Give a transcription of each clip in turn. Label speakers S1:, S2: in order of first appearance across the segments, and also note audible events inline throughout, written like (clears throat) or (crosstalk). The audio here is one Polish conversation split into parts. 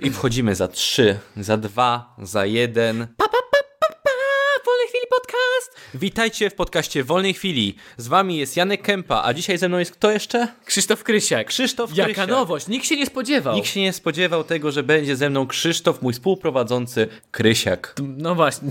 S1: I wchodzimy za trzy, za dwa, za jeden. Pa, pa, pa, pa, pa. Wolnej chwili podcast! Witajcie w podcaście Wolnej Chwili. Z wami jest Janek Kępa, a dzisiaj ze mną jest kto jeszcze?
S2: Krzysztof Krysiak.
S1: Krzysztof
S2: Jaka
S1: Krysiak.
S2: nowość, nikt się nie spodziewał.
S1: Nikt się nie spodziewał tego, że będzie ze mną Krzysztof, mój współprowadzący Krysiak. (laughs)
S2: No właśnie,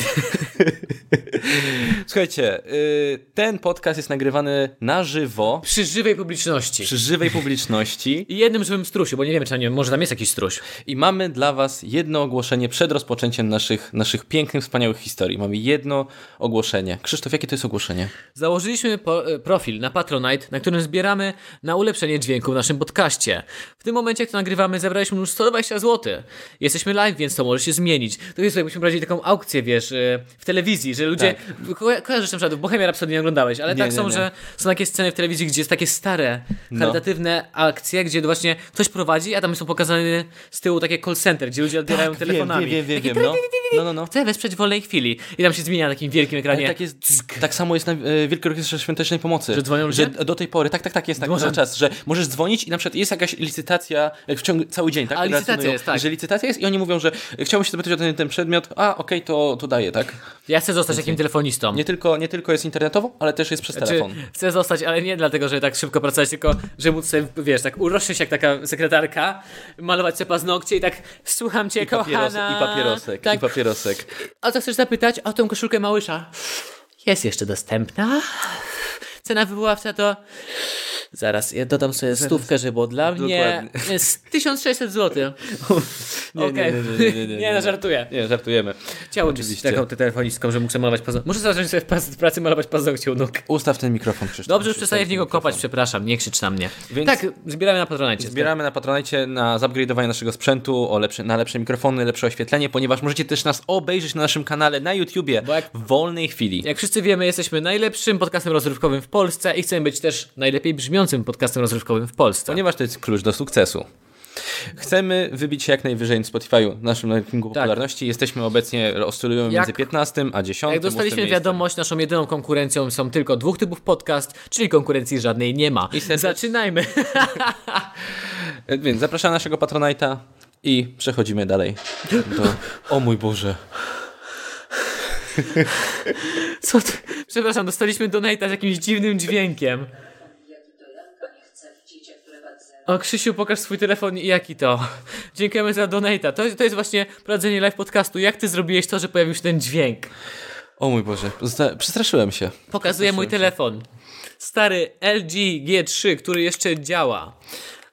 S1: Słuchajcie, y, ten podcast jest nagrywany na żywo,
S2: przy żywej publiczności.
S1: przy żywej publiczności.
S2: I jednym żywym strusiu, bo nie wiemy, czy tam, nie, może tam jest jakiś struś.
S1: I mamy dla Was jedno ogłoszenie przed rozpoczęciem naszych, naszych pięknych, wspaniałych historii. Mamy jedno ogłoszenie. Krzysztof, jakie to jest ogłoszenie?
S2: Założyliśmy po, e, profil na Patronite, na którym zbieramy na ulepszenie dźwięku w naszym podcaście. W tym momencie, jak to nagrywamy, zebraliśmy już 120 zł. Jesteśmy live, więc to może się zmienić. To jest, jakbyśmy prowadzili taką aukcję, wiesz, e, w telewizji, że ludzie... Ko kojarzysz na przykład, Bohemia Rhapsody nie oglądałeś, ale
S1: Tak. Nie,
S2: tak
S1: nie,
S2: są,
S1: nie. No.
S2: że są takie sceny w telewizji, gdzie jest takie stare, charytatywne akcje, gdzie właśnie ktoś prowadzi, a tam są pokazane z tyłu takie call center, gdzie ludzie odbierają telefonami.
S1: Tak, Wiem, wiem,
S2: Takie
S1: wiem, wiem. No, no, no. no.
S2: Chcę wesprzeć w wolnej chwili. I tam się zmienia na takim wielkim ekranie.
S1: Tak, jest, tak samo jest na e, Wielkiej Orkiestrze Świątecznej Pomocy.
S2: Że dzwonią ludzie?
S1: do tej pory, tak, tak, tak, jest tak
S2: Dzwonią.
S1: cały czas, że możesz dzwonić i na przykład jest jakaś licytacja e, w ciągu cały dzień, tak?
S2: A, licytacja
S1: Relacjonują,
S2: jest, tak.
S1: Że licytacja jest i oni mówią, że e, chciałbym się zapytać o ten, ten przedmiot, a okej, to, to daję, tak?
S2: Ja chcę zostać takim telefonistą.
S1: Nie tylko, nie tylko jest internetowo, ale też jest przez
S2: Czy
S1: telefon.
S2: chcę zostać, ale nie dlatego, że tak szybko pracować, tylko że móc sobie, wiesz, tak uroszyć jak taka sekretarka, malować sobie paznokcie i tak słucham cię,
S1: Papieros,
S2: kochana.
S1: I papierosek,
S2: Tak,
S1: i papierosek.
S2: o co chcesz zapytać? O tą koszulkę Małysza. Jest jeszcze dostępna. Cena wywoławcza to... Zaraz, ja dodam sobie stówkę, żeby było dla mnie.
S1: Dokładnie.
S2: Z 1600 zł.
S1: (laughs) Nie, nie,
S2: Okej.
S1: nie, nie, nie, nie, nie,
S2: Nie, no żartuję.
S1: Nie, żartujemy.
S2: Chciałbym być
S1: Oczywiście.
S2: taką telefonistką, że muszę malować paznokcie. Muszę zacząć sobie w pas- w pracy malować paznokcie u nóg.
S1: Ustaw ten mikrofon, Krzysztof.
S2: Dobrze, już
S1: Ustaw
S2: przestaję w
S1: ten
S2: niego
S1: mikrofon.
S2: kopać, przepraszam, nie krzycz na mnie.
S1: Więc-
S2: Tak, zbieramy na patronacie.
S1: Zbieramy na Patronite na zupgrade'owanie naszego sprzętu, o lepsze, na lepsze mikrofony, lepsze oświetlenie, ponieważ możecie też nas obejrzeć na naszym kanale na YouTubie
S2: Bo jak-
S1: w wolnej chwili.
S2: Jak wszyscy wiemy, jesteśmy najlepszym podcastem rozrywkowym w Polsce i chcemy być też najlepiej brzmiącym podcastem rozrywkowym w Polsce.
S1: Ponieważ to jest klucz do sukcesu. Chcemy wybić się jak najwyżej na Spotify'u w naszym rankingu popularności. Jesteśmy obecnie, oscylujemy
S2: Jak-
S1: między 15 a 10.
S2: Jak dostaliśmy
S1: tak.
S2: wiadomość, naszą jedyną konkurencją są tylko dwóch typów podcast, czyli konkurencji żadnej nie ma.
S1: serdecznie-
S2: Zaczynajmy.
S1: E, Więc zapraszam naszego Patronite'a i przechodzimy dalej. Do... (gasps) O mój Boże.
S2: Co ty? Przepraszam, dostaliśmy donata z jakimś dziwnym dźwiękiem. O Krzysiu, pokaż swój telefon i jaki to. Dziękujemy za donata. To, to jest właśnie prowadzenie live podcastu. Jak ty zrobiłeś to, że pojawił się ten dźwięk?
S1: O mój Boże. Zosta- Przestraszyłem się.
S2: Pokazuję mój telefon. Stary LG G3, który jeszcze działa.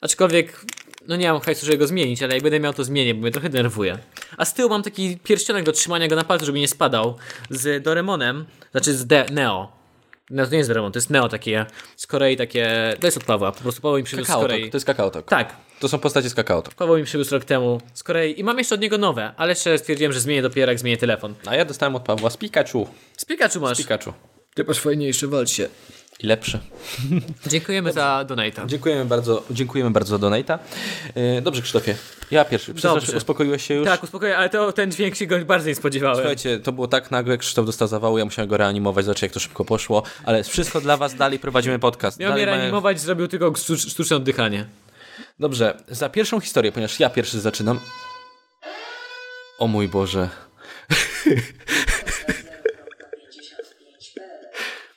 S2: Aczkolwiek, no nie mam hajsu, żeby go zmienić, ale jak będę miał to zmienię, bo mnie trochę denerwuje. A z tyłu mam taki pierścionek do trzymania go na palcu, żeby nie spadał. Z Doremonem, znaczy z De Neo. No to nie jest Doremon, to jest Neo takie z Korei takie... To jest od Pawła, po prostu Paweł mi przywiózł z
S1: Kakao
S2: Korei.
S1: Talk. To jest kakao Talk.
S2: Tak,
S1: To są postacie z kakao Talk.
S2: Paweł mi przywiózł rok temu z Korei i mam jeszcze od niego nowe, ale jeszcze stwierdziłem, że zmienię dopiero jak zmienię telefon.
S1: A ja dostałem od Pawła z Pikachu.
S2: Z Pikachu masz.
S1: Pikachu.
S2: Ty masz fajniejszy, walcz się.
S1: I lepszy.
S2: Dziękujemy za donata.
S1: Dziękujemy bardzo, dziękujemy bardzo za donate'a. E, Dobrze Krzysztofie, ja pierwszy. Przepraszam,
S2: Dobrze.
S1: uspokoiłeś się już?
S2: Tak, uspokoję, ale to, ten dźwięk się go bardziej nie spodziewałem.
S1: Słuchajcie, to było tak nagłe, Krzysztof dostał zawału, ja musiałem go reanimować, zobaczcie jak to szybko poszło, ale wszystko dla was, dalej prowadzimy podcast.
S2: Miał mnie
S1: dalej mamy-
S2: reanimować, zrobił tylko sztucz- sztuczne oddychanie.
S1: Dobrze, za pierwszą historię, ponieważ ja pierwszy zaczynam. O mój Boże.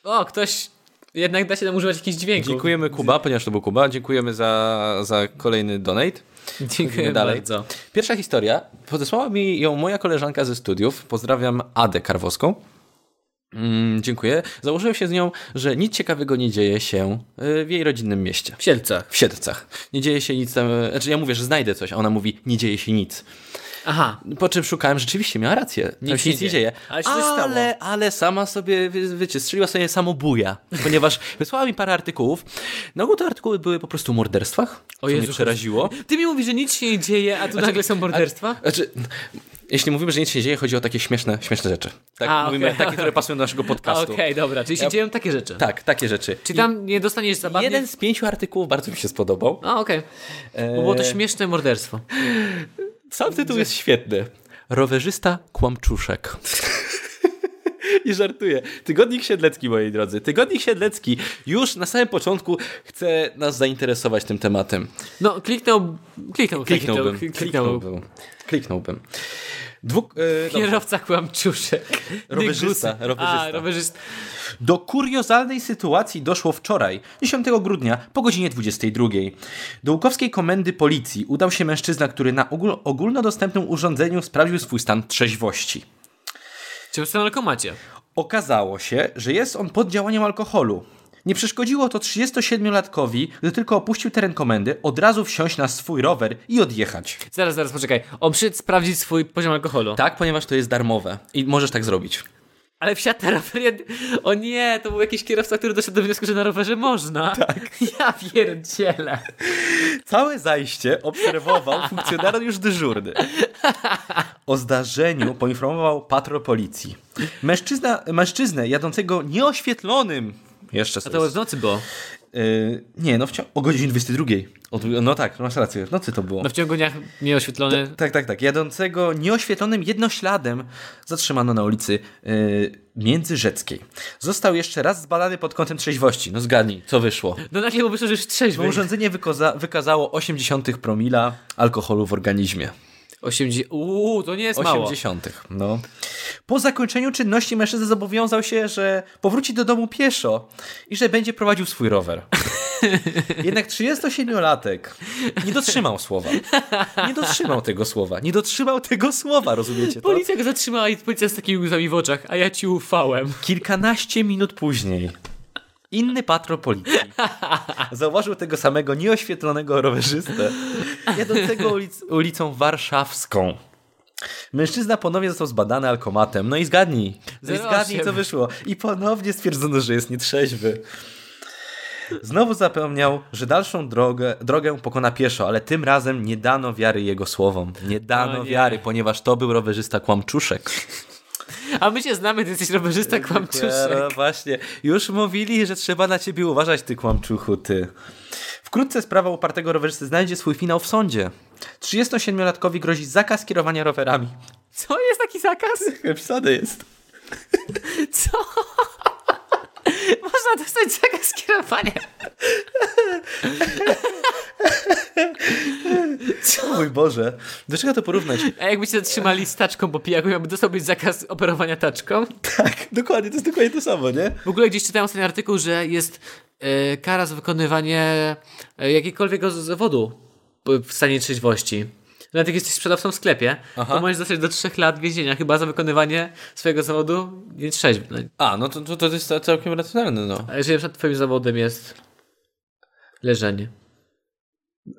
S2: O, ktoś... Jednak da się tam używać jakichś dźwięków.
S1: Dziękujemy Kuba, ponieważ to był Kuba, dziękujemy za, za kolejny donate.
S2: Dziękuję
S1: Idziemy dalej.
S2: bardzo.
S1: Pierwsza historia. Podesłała mi ją moja koleżanka ze studiów. Pozdrawiam Adę Karwowską. Mm, dziękuję. Założyłem się z nią, że nic ciekawego nie dzieje się y, w jej rodzinnym mieście.
S2: W Sielcach.
S1: W Siedlcach. Nie dzieje się nic tam. y, Znaczy ja mówię, że znajdę coś, a ona mówi, nie dzieje się nic.
S2: Aha.
S1: Po czym szukałem, rzeczywiście miała rację. Tam
S2: Nic
S1: się nic
S2: nie
S1: nie dzieje.
S2: dzieje. Ale się coś stało.
S1: ale, ale sama sobie, wie- wiecie, strzeliła sobie samobuja, ponieważ wysłała mi parę artykułów. No ogół te artykuły były po prostu o morderstwach, co mnie
S2: Jezu,
S1: przeraziło.
S2: Ty mi mówisz, że nic się nie dzieje, a tu nagle są morderstwa?
S1: Znaczy, jeśli mówimy, że nic się nie dzieje, chodzi o takie śmieszne, śmieszne rzeczy. Tak,
S2: A,
S1: mówimy
S2: okej.
S1: takie, które pasują do naszego
S2: A,
S1: (laughs) podcastu.
S2: Okej, dobra, czyli się dzieją takie rzeczy.
S1: Tak, takie rzeczy.
S2: Czy tam nie dostaniesz zabawnie?
S1: Jeden z E- pięciu artykułów bardzo mi się spodobał.
S2: A, okej. Bo było to śmieszne morderstwo.
S1: Sam tytuł jest świetny. Rowerzysta kłamczuszek. (laughs) I żartuję. Tygodnik Siedlecki, moi drodzy. Tygodnik Siedlecki już na samym początku chce nas zainteresować tym tematem.
S2: No, kliknął, kliknął,
S1: Kliknąłbym.
S2: kliknął,
S1: Kliknąłbym. Kliknąłbym. Dwuk, e, dobra.
S2: Kierowca kłamczuszek.
S1: Rowerzysta,
S2: Dygus.
S1: rowerzysta.
S2: A, rowerzysta.
S1: Do kuriozalnej sytuacji doszło wczoraj, 10 grudnia, po godzinie 22. Do łukowskiej komendy policji udał się mężczyzna, który na ogól- ogólnodostępnym urządzeniu sprawdził swój stan trzeźwości.
S2: Czym są narkomacie?
S1: Okazało się, że jest on pod działaniem alkoholu. Nie przeszkodziło to 37-latkowi, gdy tylko opuścił teren komendy, od razu wsiąść na swój rower i odjechać.
S2: Zaraz, zaraz, poczekaj. On przyszedł sprawdzić swój poziom alkoholu.
S1: Tak, ponieważ to jest darmowe i możesz tak zrobić.
S2: Ale wsiadł na rower. jed- O nie, to był jakiś kierowca, który doszedł do wniosku, że na rowerze można. Tak. (laughs) Ja pierdzielę.
S1: Całe zajście obserwował funkcjonariusz dyżurny. O zdarzeniu poinformował patrol policji. Mężczyzna, mężczyznę jadącego nieoświetlonym. Jeszcze
S2: A
S1: sobie.
S2: to w nocy było.
S1: Yy, nie, no w cią- o godzinie 22. Od, no tak, masz rację, w nocy to było.
S2: No w ciągu dnia nieoświetlony.
S1: Tak, tak, tak. Jadącego nieoświetlonym jednośladem zatrzymano na ulicy yy, Międzyrzeckiej. Został jeszcze raz zbadany pod kątem trzeźwości. No zgadnij, co wyszło.
S2: No nagle mu wyszło, że już
S1: Bo
S2: trzeźwy.
S1: urządzenie wykoza- wykazało 80 promila alkoholu w organizmie.
S2: 80. Uuu, to nie jest mało.
S1: 80. No. Po zakończeniu czynności mężczyzna zobowiązał się, że powróci do domu pieszo i że będzie prowadził swój
S2: (laughs)
S1: rower. Jednak 37-latek nie dotrzymał słowa. Nie dotrzymał tego słowa. Nie dotrzymał tego słowa, rozumiecie to?
S2: Policja go zatrzymała i policja z takimi łzami w oczach, a ja ci ufałem.
S1: Kilkanaście minut później inny patrol policji (laughs) zauważył tego samego nieoświetlonego rowerzystę jadącego ulic- ulicą Warszawską. Mężczyzna ponownie został zbadany alkomatem. No i zgadnij, no i
S2: 08.
S1: zgadnij co wyszło. I ponownie stwierdzono, że jest nietrzeźwy. Znowu zapewniał, że dalszą drogę, drogę pokona pieszo, ale tym razem nie dano wiary jego słowom. No Nie dano
S2: nie.
S1: wiary, ponieważ to był rowerzysta kłamczuszek.
S2: A my cię znamy, ty jesteś rowerzysta kłamczuszek.
S1: No właśnie. Już mówili, że trzeba na ciebie uważać, ty kłamczuchu, ty. Wkrótce sprawa upartego rowerzysty znajdzie swój finał w sądzie. 37-latkowi grozi zakaz kierowania rowerami.
S2: Co jest taki zakaz? (laughs)
S1: Wsady jest.
S2: Co? Można dostać zakaz kierowania.
S1: Co? Mój Boże. Do czego to porównać?
S2: A jakbyście zatrzymali z taczką po pijaku, jakby dostałbyś zakaz operowania taczką?
S1: (laughs) Tak, dokładnie, to jest dokładnie to samo, nie?
S2: W ogóle gdzieś czytałem ostatni artykuł, że jest e, kara za wykonywanie e, jakiegokolwiek z- zawodu p- w stanie trzeźwości. Nawet jak jesteś sprzedawcą w sklepie,
S1: Aha.
S2: to możesz dostać do 3 lat więzienia chyba za wykonywanie swojego zawodu nietrzeźwy.
S1: A, no to, to, to jest całkiem racjonalne, no.
S2: A jeżeli na przykład twoim zawodem jest leżenie.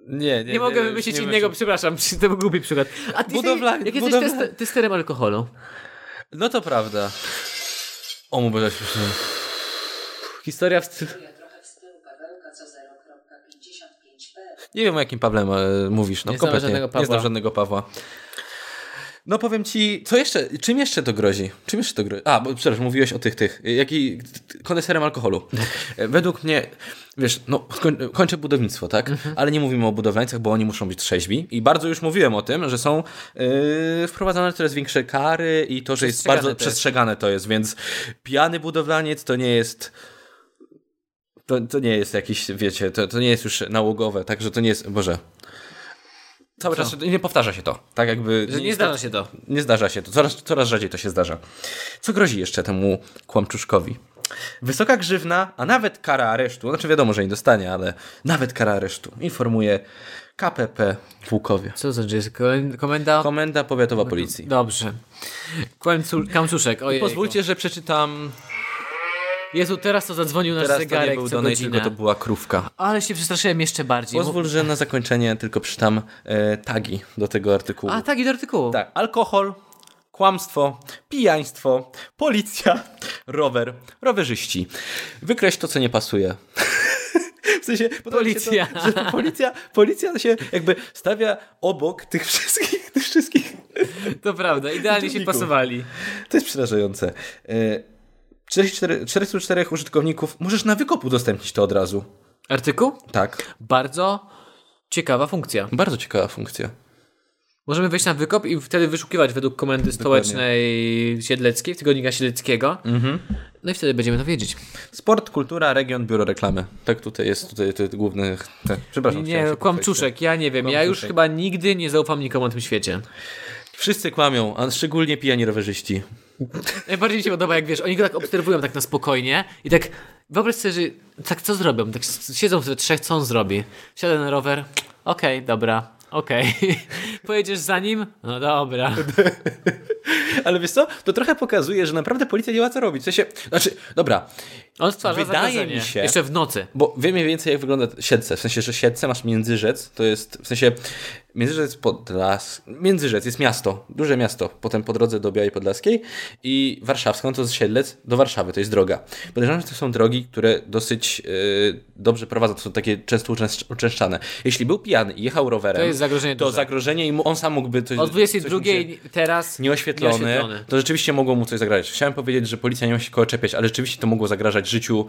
S1: Nie, nie,
S2: Nie, mogę wymyślić innego, przepraszam, (laughs) to był głupi przykład. A ty,
S1: Budowla-
S2: jak jesteś
S1: budowla-
S2: test- testerem alkoholu,
S1: No to prawda. O mój Boże, śmiesznie.
S2: historia w...
S3: trochę z tyłu Pawełka, co 0.55p.
S1: Nie wiem, o jakim Pawle e, mówisz. No,
S2: Nie znam
S1: kompletnie.
S2: żadnego
S1: Nie
S2: Pawła.
S1: znam żadnego Pawła. No powiem ci, co jeszcze, czym jeszcze to grozi? Czym jeszcze to grozi? A, bo przepraszam, mówiłeś o tych, tych, y, jaki, t- koneserem alkoholu. E, Według mnie, wiesz, no skoń, kończę budownictwo, tak?
S2: Mhm.
S1: Ale nie mówimy o budowlańcach, bo oni muszą być trzeźwi i bardzo już mówiłem o tym, że są y, wprowadzane coraz większe kary i to, że jest
S2: Przestrzegane
S1: bardzo
S2: to jest.
S1: przestrzegane to jest, więc pijany budowlaniec to nie jest to, to nie jest jakiś, wiecie, to, to nie jest już nałogowe, także to nie jest, Boże. Cały czas nie powtarza się to. Tak jakby.
S2: Że nie zdarza się to.
S1: Nie zdarza się to. Coraz, coraz rzadziej to się zdarza. Co grozi jeszcze temu kłamczuszkowi? Wysoka grzywna, a nawet kara aresztu. Znaczy wiadomo, że nie dostanie, ale nawet kara aresztu. Informuje KPP w Łukowie.
S2: Co to znaczy? Jest kolend- komenda?
S1: Komenda Powiatowa Policji.
S2: Dobrze. Kłamcu, kamczuszek, ojej.
S1: Pozwólcie, że przeczytam.
S2: Jezu, teraz to zadzwonił nasz
S1: Teraz to nie
S2: zegarek
S1: był
S2: co
S1: donate,
S2: godzinę.
S1: tylko to była krówka.
S2: Ale się przestraszyłem jeszcze bardziej. Mu-
S1: Pozwól, że na zakończenie tylko przeczytam e, tagi do tego artykułu.
S2: A tak, i do artykułu.
S1: Tak, alkohol, kłamstwo, pijaństwo, policja, rower, rowerzyści. Wykreś to, co nie pasuje. (laughs) W sensie, podoba mi się
S2: Policja.
S1: To, że policja. Policja się jakby stawia obok tych wszystkich, tych wszystkich.
S2: (laughs) To prawda, idealnie się
S1: Dzienniku.
S2: pasowali.
S1: To jest przerażające. E, 44 404 użytkowników, możesz na wykopu udostępnić to od razu.
S2: Artykuł?
S1: Tak.
S2: Bardzo ciekawa funkcja.
S1: Bardzo ciekawa funkcja.
S2: Możemy wejść na wykop i wtedy wyszukiwać według komendy stołecznej Siedleckiej, tygodnika Siedleckiego.
S1: Mhm.
S2: No i wtedy będziemy to wiedzieć.
S1: Sport, kultura, region, biuro reklamy. Tak tutaj jest tutaj, tutaj główny... Te, przepraszam.
S2: Nie,
S1: chciałem się
S2: kłamczuszek, ja nie wiem. Ja już
S1: Kłamczuszek.
S2: chyba nigdy nie zaufam nikomu na tym świecie.
S1: pochwalić. Wszyscy kłamią, a szczególnie pijani rowerzyści.
S2: Najbardziej mi się podoba, jak wiesz, oni go tak obserwują tak na spokojnie i tak wyobraź sobie, że tak co zrobią? Tak s- siedzą we trzech, co on zrobi? Siada na rower, okej, dobra, okej. (laughs) Pojedziesz za nim? No dobra.
S1: Ale wiesz co, to trochę pokazuje, że naprawdę policja nie ma co robić. W sensie, znaczy, dobra,
S2: On stwarza
S1: Wydaje
S2: zakażenie.
S1: mi się-
S2: Jeszcze w nocy.
S1: Bo wiem mniej więcej, jak wygląda siedce. W sensie, że siedce masz międzyrzec, to jest w sensie międzyrzec podlas. Międzyrzec jest miasto, duże miasto. Potem po drodze do Białej Podlaskiej i warszawską to jest siedlec do Warszawy, to jest droga. Podejrzewam, że to są drogi, które dosyć yy, dobrze prowadzą, to są takie często uczęsz- uczęszczane. Jeśli był pijany i jechał rowerem,
S2: To jest zagrożenie
S1: to
S2: duże.
S1: zagrożenie i mu- on sam mógłby coś
S2: O 22
S1: coś mu się-
S2: teraz
S1: Nieoświetlony, to rzeczywiście mogło mu coś zagrażać. Chciałem powiedzieć, że policja nie ma się koło czepiać, ale rzeczywiście to mogło zagrażać życiu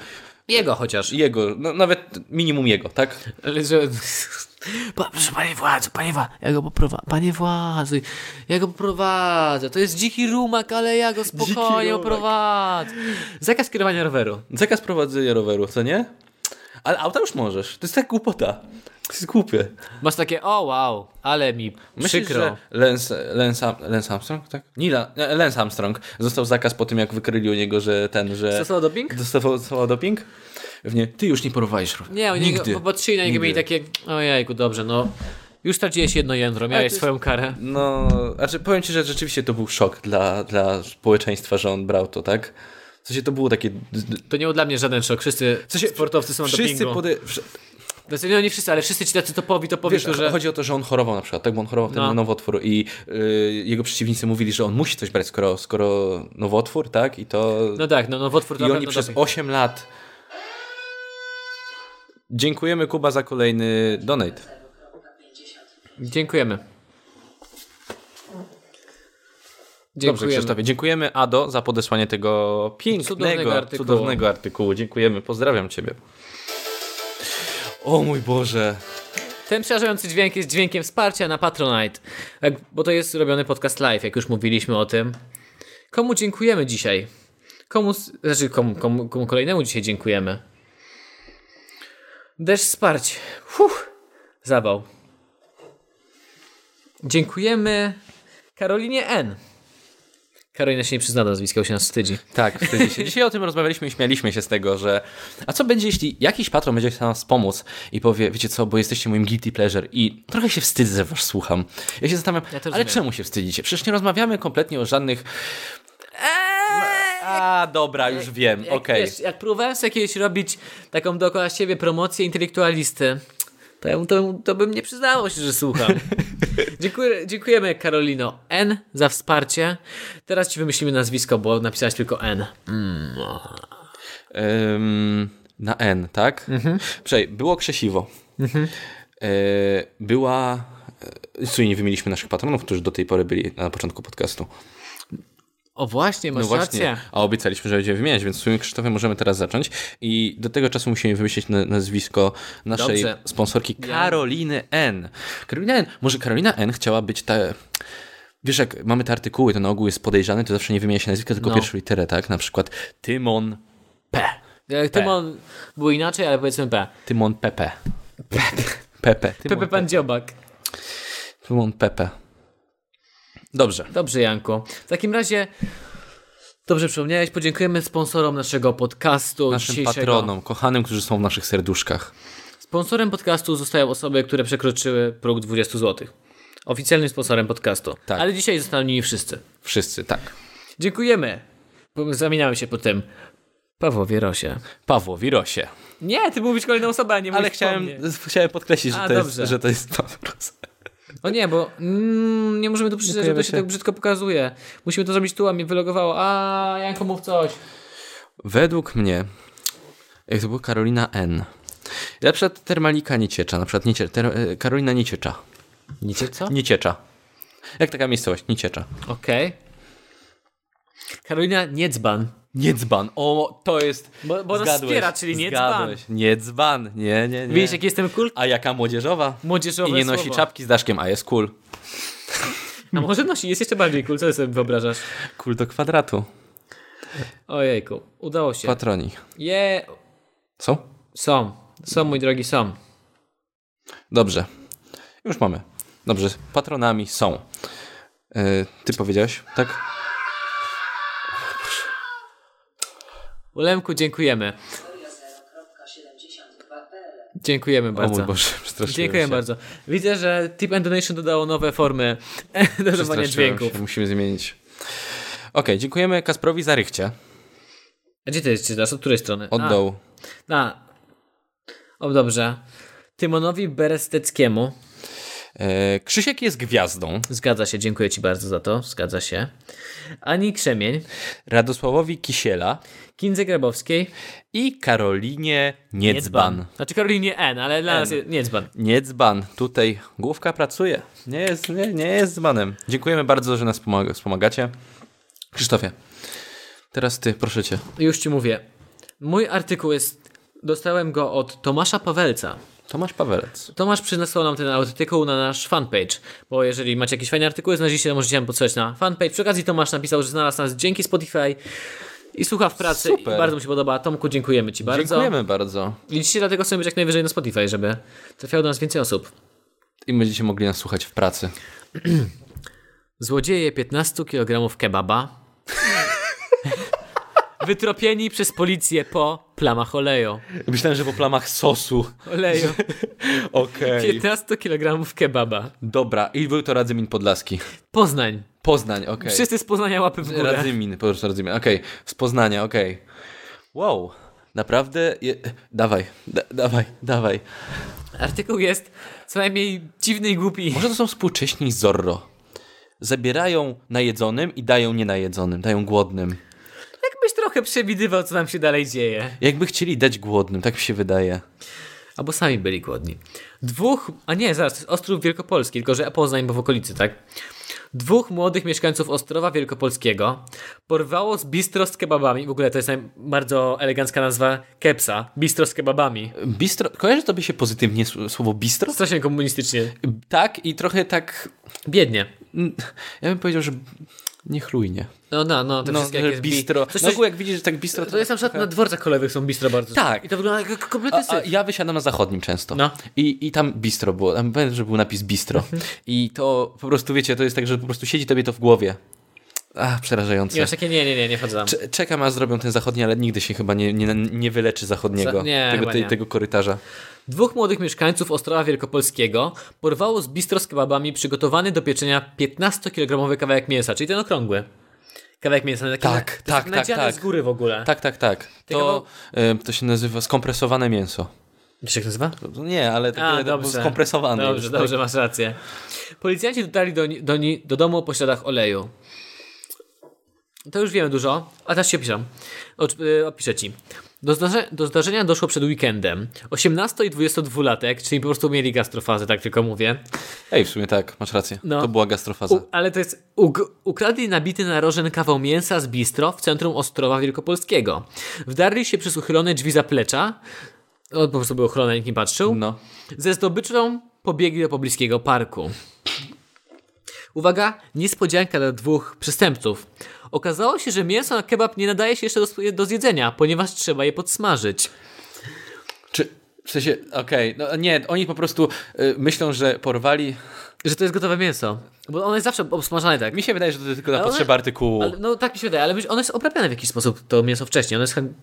S2: Jego chociaż.
S1: jego, no, nawet minimum jego, tak?
S2: Ale że... Pa- Proszę, panie władzu, panie władzu, ja go poprowadzę, panie władzu, ja go poprowadzę, to jest dziki rumak, ale ja go spokojnie
S1: rumak.
S2: oprowadzę. Zakaz kierowania roweru.
S1: Zakaz prowadzenia roweru, co nie? Ale auta już możesz. To jest tak głupota. To jest głupie.
S2: Masz takie, o wow, ale mi przykro.
S1: że Lance, Lance, Lance Armstrong, tak? Nila, nie, Lance Armstrong został zakaz po tym, jak wykryli u niego, że ten, że...
S2: Stosował doping?
S1: Dostawał, dostawał doping? Pewnie. Ty już nie porwałeś roweru.
S2: Nie, oni
S1: Nigdy.
S2: Nigdy. popatrzyli na niego i mieli takie, ojejku, dobrze, no, już straciłeś jedno jędro,
S1: Ale to
S2: miałeś
S1: jest-
S2: swoją karę.
S1: No, znaczy powiem ci, że rzeczywiście to był szok dla, dla społeczeństwa, że on brał to, tak? W sensie to było takie...
S2: To nie był dla mnie żaden szok, wszyscy sportowcy są na
S1: Wszyscy
S2: dopingu.
S1: pode...
S2: Znaczy, nie, nie wszyscy, ale wszyscy ci tacy topowi, topowi,
S1: Wiesz,
S2: którzy...
S1: Chodzi o to, że on chorował na przykład, tak? Bo on chorował wtedy
S2: No.
S1: na nowotwór i y, jego przeciwnicy mówili, że on musi coś brać, skoro, skoro nowotwór, tak? I to...
S2: No tak, no, no wotwór to
S1: I
S2: na
S1: oni
S2: pewno
S1: przez
S2: doping.
S1: 8 lat... Dziękujemy Kuba za kolejny donate.
S3: 0.50.
S2: Dziękujemy.
S1: Dobrze,
S2: Dziękujemy.
S1: Krzysztofie. Dziękujemy Ado za podesłanie tego pięknego,
S2: Cudownego
S1: cudownego
S2: artykułu.
S1: artykułu. Dziękujemy. Pozdrawiam ciebie. O mój Boże.
S2: Ten przerażający dźwięk jest dźwiękiem wsparcia na Patronite, jak, bo to jest robiony podcast live, jak już mówiliśmy o tym. Komu dziękujemy dzisiaj? Komu, s- znaczy komu, komu, komu kolejnemu dzisiaj dziękujemy? Deszcz wsparć. Fuh, zawał. Dziękujemy Karolinie N. Karolina się nie przyzna do nazwiska, bo się nas wstydzi.
S1: Tak, wtedy się. Dzisiaj o tym rozmawialiśmy i śmialiśmy się z tego, że a co będzie, jeśli jakiś patron będzie chciał nas pomóc i powie, wiecie co, bo jesteście moim guilty pleasure i trochę się wstydzę, że was słucham. Ja się zastanawiam,
S2: Ja też
S1: ale
S2: wiem.
S1: czemu się wstydzicie? Przecież nie rozmawiamy kompletnie o żadnych... Eee, A, dobra, już wiem,
S2: No, Jak,
S1: okej.
S2: wiesz, jak próbowałem sobie kiedyś robić taką dookoła siebie promocję intelektualisty, to, ja, mu- to, to bym nie przyznawał się, że słucham.
S1: (laughs)
S2: Dziękuję, dziękujemy Karolino N za wsparcie. Teraz ci wymyślimy nazwisko, bo napisałaś tylko N.
S1: Ym, na N, tak? Mhm. Przej, było krzesiwo.
S2: Mhm.
S1: Y, była... y, Słuchaj, nie wymieniliśmy naszych patronów, którzy do tej pory byli na początku podcastu.
S2: O właśnie, masz
S1: No właśnie,
S2: rację.
S1: a obiecaliśmy, że będziemy wymieniać, więc w sumie Krzysztofie możemy teraz zacząć. I do tego czasu musimy wymyślić na, nazwisko naszej
S2: Dobrze.
S1: sponsorki Karoliny N. Karolina N. Może Karolina N chciała być ta... Wiesz, jak mamy te artykuły, to na ogół jest podejrzany, to zawsze nie wymienia się nazwiska, tylko
S2: No.
S1: pierwszą literę, tak? Na przykład Tymon,
S2: P. Jak E, Tymon było inaczej, ale powiedzmy P.
S1: Tymon Pepe. Pepe. Tymon
S2: Pepe Pan Dziobak.
S1: Tymon Pepe. Dobrze.
S2: Dobrze, Janku. W takim razie dobrze przypomniałeś, podziękujemy sponsorom naszego podcastu.
S1: Naszym
S2: dzisiejszego.
S1: patronom, kochanym, którzy są w naszych serduszkach.
S2: Sponsorem podcastu zostają osoby, które przekroczyły próg 20 zł. Oficjalnym sponsorem podcastu.
S1: Tak.
S2: Ale dzisiaj zostaną nimi wszyscy.
S1: Wszyscy, tak.
S2: Dziękujemy. Bo Zamieniamy się po tym. Pawłowie Rosie.
S1: Pawło Wirosie.
S2: Nie, ty mówisz kolejną osobę, a nie
S1: Ale
S2: mówisz po
S1: chciałem,
S2: mnie.
S1: chciałem podkreślić, że,
S2: A,
S1: to jest,
S2: dobrze.
S1: że to jest Pawros.
S2: O nie, bo mm, nie możemy tu przyznać, że to
S1: Dziękujemy
S2: się
S1: się.
S2: tak brzydko pokazuje. Musimy to zrobić tu, a mnie wylogowało. A Janko, mów coś.
S1: Według mnie, jak to było Karolina N. Na przykład Termalika Nieciecza, na przykład Niecie, ter, e, Karolina Nieciecza.
S2: Nicie co?
S1: Nieciecza. Jak taka miejscowość? Nieciecza.
S2: Okej. Karolina Niedzban.
S1: Niedzban. O, to jest...
S2: Bo- bo nas
S1: zgadłeś,
S2: wspiera, czyli nie
S1: zgadłeś. Nie dzban. Nie, nie, nie.
S2: Widzisz, jak jestem cool?
S1: A jaka młodzieżowa?
S2: Młodzieżowe
S1: I nie nosi
S2: słowo.
S1: czapki z daszkiem, a jest cool.
S2: A może nosi, jest jeszcze bardziej cool, co ty sobie wyobrażasz?
S1: Kul do kwadratu.
S2: Ojejku, udało się.
S1: Patroni.
S2: Je,
S1: Są?
S2: są, są mój drogi, są.
S1: Dobrze. Już mamy. Dobrze. Patronami są. E, ty powiedziałeś, tak?
S2: Ulemku, dziękujemy.
S3: Kategoria 0.72PL.
S2: Dziękujemy
S1: O
S2: bardzo.
S1: mój Boże, (laughs) przestraszyłem
S2: Dziękuję
S1: się.
S2: bardzo. Widzę, że Tip and Donation dodało nowe formy (laughs) dodawania
S1: Przestraszyłem
S2: dźwięków.
S1: Się. Musimy zmienić. Okej, dziękujemy Kasprowi za rychcie.
S2: A gdzie ty jesteś teraz? Od której strony?
S1: Oddał.
S2: A, a. O, dobrze. Tymonowi Beresteckiemu.
S1: E, Krzysiek jest gwiazdą.
S2: Zgadza się, dziękuję ci bardzo za to. Zgadza się. Ani Krzemień.
S1: Radosławowi Kisiela
S2: Kindze Grabowskiej.
S1: i Karolinie Niedzban.
S2: Znaczy Karolinie N, ale dla nas jest Niedzban.
S1: Niedzban. Tutaj główka pracuje. Nie jest, nie, nie jest dzbanem. Dziękujemy bardzo, że nas pomaga, wspomagacie. Krzysztofie, teraz ty, proszę cię.
S2: Już ci mówię. Mój artykuł jest... Dostałem go od Tomasza Pawelca.
S1: Tomasz Pawelec.
S2: Tomasz przynasłał nam ten artykuł na nasz fanpage, bo jeżeli macie jakieś fajne artykuły, znaleźliście, to możecie nam podsyłać na fanpage. Przy okazji Tomasz napisał, że znalazł nas dzięki Spotify i słucha w pracy
S1: Super.
S2: i bardzo mu się podoba. Tomku, dziękujemy Ci bardzo.
S1: Dziękujemy bardzo.
S2: Liczycie dlatego chcemy być jak najwyżej na Spotify, żeby trafiało do nas więcej osób.
S1: I będziecie mogli nas słuchać w pracy.
S2: Złodzieje 15 kg kebaba. (laughs) Wytropieni przez policję po plamach oleju.
S1: Myślałem, że po plamach sosu. (laughs)
S2: Oleju.
S1: Okej.
S2: 15 kg kebaba.
S1: Dobra, i był to Radzymin Podlaski.
S2: Poznań.
S1: Poznań, okej.
S2: Wszyscy z Poznania łapy w górę.
S1: Radzymin, po prostu Radzymin, okej. Z Poznania, okej. Wow, naprawdę... Je... Dawaj, da, dawaj, dawaj.
S2: Artykuł jest co najmniej dziwny i głupi.
S1: Może to są współcześni Zorro. Zabierają najedzonym i dają nienajedzonym, dają głodnym.
S2: Jakbyś tak trochę przewidywał, co nam się dalej dzieje.
S1: Jakby chcieli dać głodnym, tak mi się wydaje.
S2: Albo sami byli głodni. Dwóch, a nie, zaraz, to jest Ostrów Wielkopolski, tylko że Poznań, bo w okolicy, tak? Dwóch młodych mieszkańców Ostrowa Wielkopolskiego porwało z bistro z kebabami. W ogóle to jest naj- bardzo elegancka nazwa kepsa. Bistro z kebabami.
S1: Bistro, kojarzy tobie się pozytywnie s- słowo bistro?
S2: Strasznie komunistycznie.
S1: Tak i trochę tak...
S2: Biednie.
S1: Mm, Ja bym powiedział, że niechlujnie.
S2: No, no, no, to
S1: No,
S2: wszystkie
S1: że
S2: jakieś bi-
S1: bistro.
S2: Coś,
S1: no
S2: coś,
S1: ogół jak widzisz, że tak bistro...
S2: to jest na przykład na dworcach kolejowych są bistro bardzo.
S1: Tak.
S2: I to wygląda jak kompletny
S1: A, a
S2: syf.
S1: ja wysiadam na zachodnim często.
S2: No.
S1: I, I tam bistro było. Tam pamiętam, że był napis bistro. I to po prostu, wiecie, to jest tak, że po prostu siedzi tobie to w głowie. Ach, przerażające.
S2: Nie, masz takie, nie, nie, nie, nie wchodzę tam.
S1: Cze- Czekam, aż zrobią ten zachodni, ale nigdy się chyba nie, nie, nie wyleczy zachodniego.
S2: Za- nie,
S1: tego,
S2: chyba
S1: tej,
S2: nie.
S1: tego korytarza.
S2: Dwóch młodych mieszkańców Ostrowa Wielkopolskiego porwało z bistro z kebabami przygotowany do pieczenia 15-kilogramowy kawałek mięsa, czyli ten okrągły. Kawałek mięsa, taki
S1: Tak,
S2: na-
S1: tak,
S2: taki
S1: tak,
S2: nadziany
S1: tak.
S2: z góry w ogóle.
S1: Tak, tak, tak. To, em, to się nazywa skompresowane mięso. No,
S2: Wiesz jak nazywa?
S1: To Nie, ale takie
S2: A,
S1: to
S2: dobrze.
S1: skompresowane.
S2: Dobrze,
S1: już, tak?
S2: dobrze, masz rację. Policjanci dotarli do, ni- do, ni- do domu po śladach oleju. To już wiemy dużo, a teraz się opiszę. Ocz- y, Opiszę ci. Do, zdarze- do zdarzenia doszło przed weekendem. 18 i 22-latek, czyli po prostu mieli gastrofazę, tak tylko mówię.
S1: Ej, w sumie tak, masz rację.
S2: No.
S1: To była gastrofaza.
S2: U, ale to jest. Ug- ukradli nabity na rożen kawał mięsa z bistro w centrum Ostrowa Wielkopolskiego. Wdarli się przez uchylone drzwi zaplecza. O, po prostu był ochrona, nikt nie patrzył.
S1: No.
S2: Ze zdobyczą pobiegli do pobliskiego parku. Uwaga, niespodzianka dla dwóch przestępców. Okazało się, że mięso na kebab nie nadaje się jeszcze do, sp- do zjedzenia, ponieważ trzeba je podsmażyć.
S1: Czy, w sensie, okej, no nie, oni po prostu y, myślą, że porwali...
S2: Że to jest gotowe mięso. Bo ono jest zawsze obsmażane tak.
S1: Mi się wydaje, że to tylko na
S2: one-
S1: potrzeby artykułu.
S2: Ale, no tak mi się wydaje, ale być- ono jest obrabiane w jakiś sposób, to mięso wcześniej. Ono, jest, chem-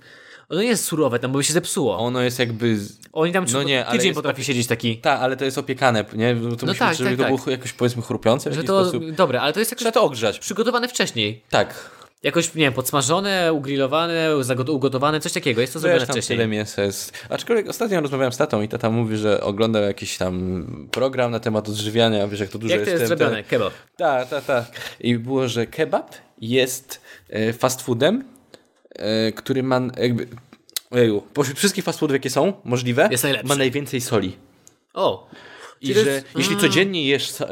S2: ono nie jest surowe tam, bo by się zepsuło.
S1: Ono jest jakby... z-
S2: Oni tam
S1: no
S2: no
S1: nie, ale
S2: tydzień
S1: jest
S2: potrafi siedzieć taki.
S1: Tak, ale to jest opiekane, nie? No To no
S2: tak,
S1: żeby
S2: tak,
S1: to
S2: tak.
S1: było jakoś, powiedzmy, chrupiące w
S2: Że
S1: jakiś
S2: to,
S1: sposób.
S2: dobre, ale to jest
S1: Trzeba
S2: jakoś
S1: to ogrzać.
S2: przygotowane wcześniej.
S1: Tak.
S2: Jakoś, nie wiem, podsmażone, ugrillowane, zagot- ugotowane, coś takiego. Jest to zrobione
S1: Wiesz, No tam
S2: wcześniej.
S1: tyle mięsa jest. Aczkolwiek ostatnio rozmawiałem z tatą i tata mówi, że oglądał jakiś tam program na temat odżywiania, wiesz jak to dużo
S2: Jak to
S1: jest
S2: jest
S1: ten-
S2: zrobione?
S1: ten-
S2: Kebab.
S1: Tak, tak, tak. I było, że kebab jest e, fast foodem, e, który ma jakby... Ojeju, pośród wszystkich fast foodów, jakie są możliwe,
S2: Jest najlepszy.
S1: ma najwięcej soli.
S2: O!
S1: I
S2: to
S1: że
S2: jest- Mm.
S1: jeśli codziennie jesz e,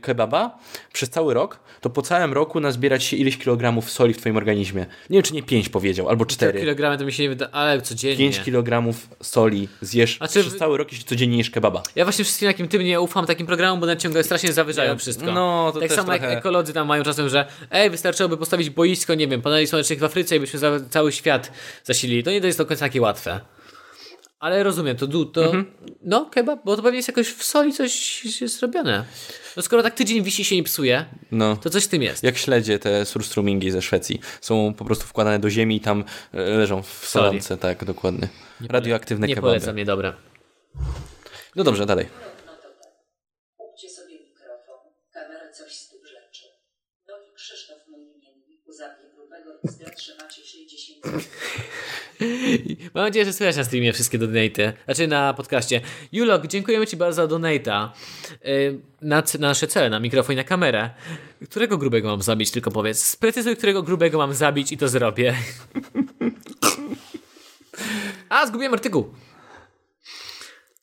S1: kebaba przez cały rok, to po całym roku nazbierać się ileś kilogramów soli w twoim organizmie. Nie wiem, czy nie 5 powiedział, albo 4.
S2: Kilogramy to mi się nie wyda, ale codziennie.
S1: 5 kilogramów soli zjesz
S2: A czy
S1: przez
S2: w-
S1: cały rok, jeśli codziennie jesz kebaba.
S2: Ja właśnie wszystkim takim tym nie ufam, takim programom, bo naciągają strasznie zawyżają wszystko.
S1: No, to
S2: tak
S1: też
S2: samo
S1: trochę-
S2: jak ekolodzy tam mają czasem, że ej, wystarczyłoby postawić boisko, nie wiem, paneli słonecznych w Afryce i byśmy za, cały świat zasilili. To nie jest do końca takie łatwe. Ale rozumiem, to, du- to
S1: Mhm.
S2: no kebab, bo to pewnie jest jakoś w soli coś jest zrobione. No skoro tak tydzień wisi się i psuje,
S1: No.
S2: to coś w tym jest.
S1: Jak śledzie te surstrumingi ze Szwecji. Są po prostu wkładane do ziemi i tam e, leżą w
S2: Soli.
S1: solonce, tak, dokładnie. Radioaktywne
S2: nie
S1: kebaby.
S2: polecam, niedobre.
S1: No dobrze, dalej.
S3: Równo to tak. Kupcie sobie mikrofon, kamerę, coś z tych rzeczy. Nowy Krzysztof Młynienniku zabije grubego i zatrzymacie się 10 minut.
S2: (laughs) Mam nadzieję, że słychać na streamie wszystkie donaty. Znaczy na podcaście. Julok, dziękujemy Ci bardzo za donata. Yy, na, c- na nasze cele, na mikrofon i na kamerę. Którego grubego mam zabić? Tylko powiedz. Sprecyzuj, którego grubego mam zabić i to zrobię. (laughs) A, zgubiłem artykuł.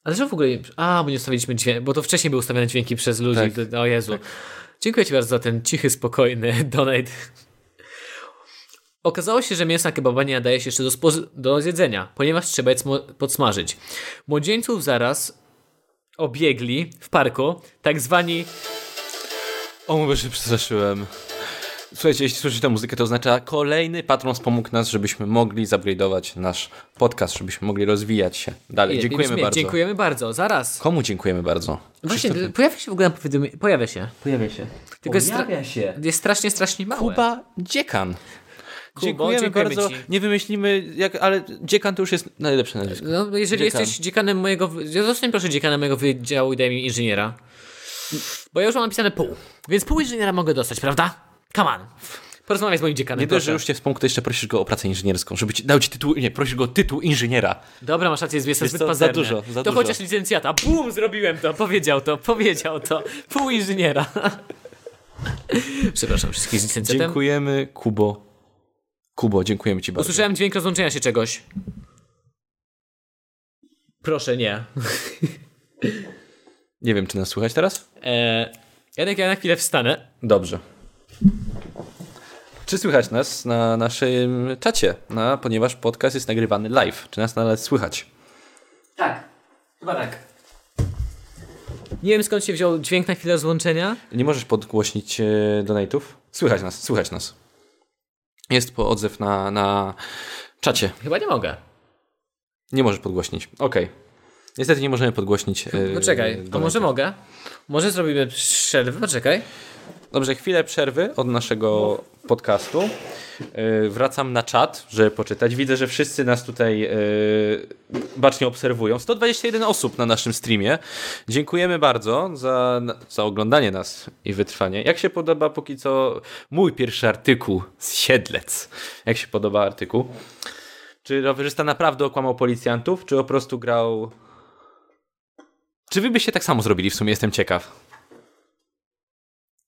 S2: Ale że w ogóle... nie- A, bo nie ustawiliśmy dźwięk, bo to wcześniej były ustawione dźwięki przez ludzi.
S1: Tak.
S2: O Jezu. Dziękuję Ci bardzo za ten cichy, spokojny (laughs) donate. Okazało się, że mięsa kebaba nie nadaje się jeszcze do, spoz- do zjedzenia, ponieważ trzeba je smo- podsmażyć. Młodzieńców zaraz obiegli w parku tak zwani...
S1: O, mówię, że przestraszyłem. Słuchajcie, jeśli słyszycie tę muzykę, to oznacza kolejny patron wspomógł nas, żebyśmy mogli upgradeować nasz podcast, żebyśmy mogli rozwijać się dalej. Tak, Dziękujemy
S2: Dziękujemy
S1: bardzo.
S2: Dziękujemy bardzo, zaraz.
S1: Komu dziękujemy bardzo?
S2: Właśnie,
S1: Krzysztof-
S2: pojawia się w ogóle na powiadomieniu. Pojawia się.
S1: Pojawia się.
S2: Tylko jest stra- Jest strasznie, strasznie małe.
S1: Kuba Dziekan. dziękujemy,
S2: dziękujemy
S1: bardzo.
S2: ci.
S1: Nie wymyślimy, jak, ale Dziekan to już jest najlepsze nazwisko.
S2: No, jeżeli
S1: Dziekan.
S2: jesteś dziekanem mojego... wy- Zostań proszę dziekanem mojego wydziału i daj mi inżyniera. Bo ja już mam napisane pół. Więc pół inżyniera mogę dostać, prawda? Come on. Porozmawiaj z moim dziekanem,
S1: Nie dość, że
S2: proszę.
S1: już cię wspomógł, to jeszcze prosisz go o pracę inżynierską, żeby ci dał ci tytuł, nie, prosisz go o tytuł inżyniera.
S2: Dobra, masz rację, jest
S1: Wiesz
S2: zbyt
S1: co, za
S2: pazerne.
S1: dużo, za
S2: to
S1: dużo.
S2: chociaż licencjata. Bum, zrobiłem to, powiedział to, powiedział to. Pół inżyniera. (laughs) Przepraszam wszystkich z licencjatem.
S1: Dziękujemy, Kubo. Kubo, dziękujemy ci bardzo.
S2: Usłyszałem dźwięk rozłączenia się czegoś. Proszę, nie.
S1: Nie wiem, czy nas słychać teraz?
S2: E, Janek, ja na chwilę wstanę.
S1: Dobrze. Czy słychać nas na naszym czacie? Na, ponieważ podcast jest nagrywany live. Czy nas nawet słychać?
S2: Tak, chyba tak. Nie wiem skąd się wziął dźwięk na chwilę rozłączenia.
S1: Nie możesz podgłośnić e, donate'ów? Słychać nas, słychać nas. Jest po odzew na, na czacie.
S2: Chyba nie mogę.
S1: Nie możesz podgłośnić. Okej. Niestety nie możemy podgłośnić. e,
S2: Poczekaj, a
S1: donate'ów.
S2: No może mogę? Może zrobimy przerwę, poczekaj.
S1: Dobrze, chwilę przerwy od naszego podcastu. Yy, Wracam na czat, żeby poczytać. Widzę, że wszyscy nas tutaj yy, bacznie obserwują. 121 osób na naszym streamie. Dziękujemy bardzo za, za oglądanie nas i wytrwanie. Jak się podoba póki co mój pierwszy artykuł z Siedlec? Jak się podoba artykuł? Czy rowerzysta naprawdę okłamał policjantów, czy po prostu grał... Czy wy byście tak samo zrobili? W sumie jestem ciekaw.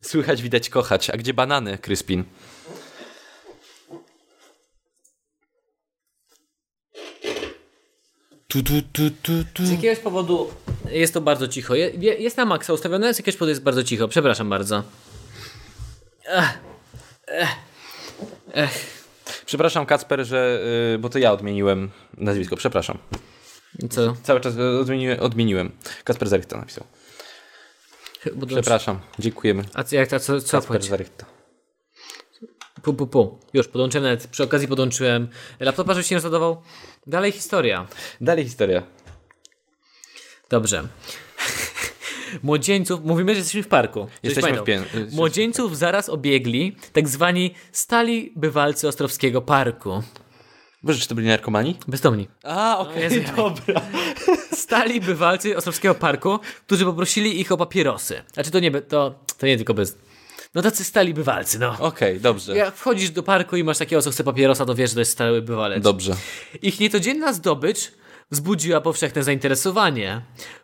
S1: Słychać, widać, kochać. A gdzie banany, Kryspin? Tu, tu, tu, tu, tu.
S2: Z jakiegoś powodu jest to bardzo cicho. Je, je, jest na maksa ustawione, z jakiegoś powodu jest bardzo cicho. Przepraszam bardzo.
S1: Przepraszam, Kacper, że. y, bo to ja odmieniłem nazwisko, przepraszam.
S2: Co?
S1: Cały czas y, odmieniłem. odmieniłem. Kacper Zarychta napisał.
S2: Bo to-
S1: Przepraszam, dziękujemy.
S2: A co, jak, a co, co
S1: Kacper
S2: chodzi?
S1: Zarychta.
S2: Pu, pu, pu. Już, podłączyłem nawet, przy okazji podłączyłem laptopa, żeby się nie rozładował. Dalej historia.
S1: Dalej historia.
S2: Dobrze. (laughs) Młodzieńców, mówimy, że jesteśmy w parku. Żebyś
S1: Jesteśmy
S2: pamiętał.
S1: w pię- jesteśmy w
S2: Młodzieńców zaraz obiegli tak zwani stali bywalcy Ostrowskiego Parku.
S1: Boże, czy to byli narkomani?
S2: Bezdomni.
S1: A, okej,
S2: Jezu, ja-
S1: (laughs) dobra.
S2: Stali bywalcy Ostrowskiego Parku, którzy poprosili ich o papierosy. Znaczy to nie, be- to, to nie tylko bez... No tacy stali bywalcy, no.
S1: Okej, dobrze.
S2: Jak wchodzisz do parku i masz takiego, co chce papierosa, to wiesz, że to jest stały bywalec.
S1: Dobrze.
S2: Ich niecodzienna zdobycz wzbudziła powszechne zainteresowanie.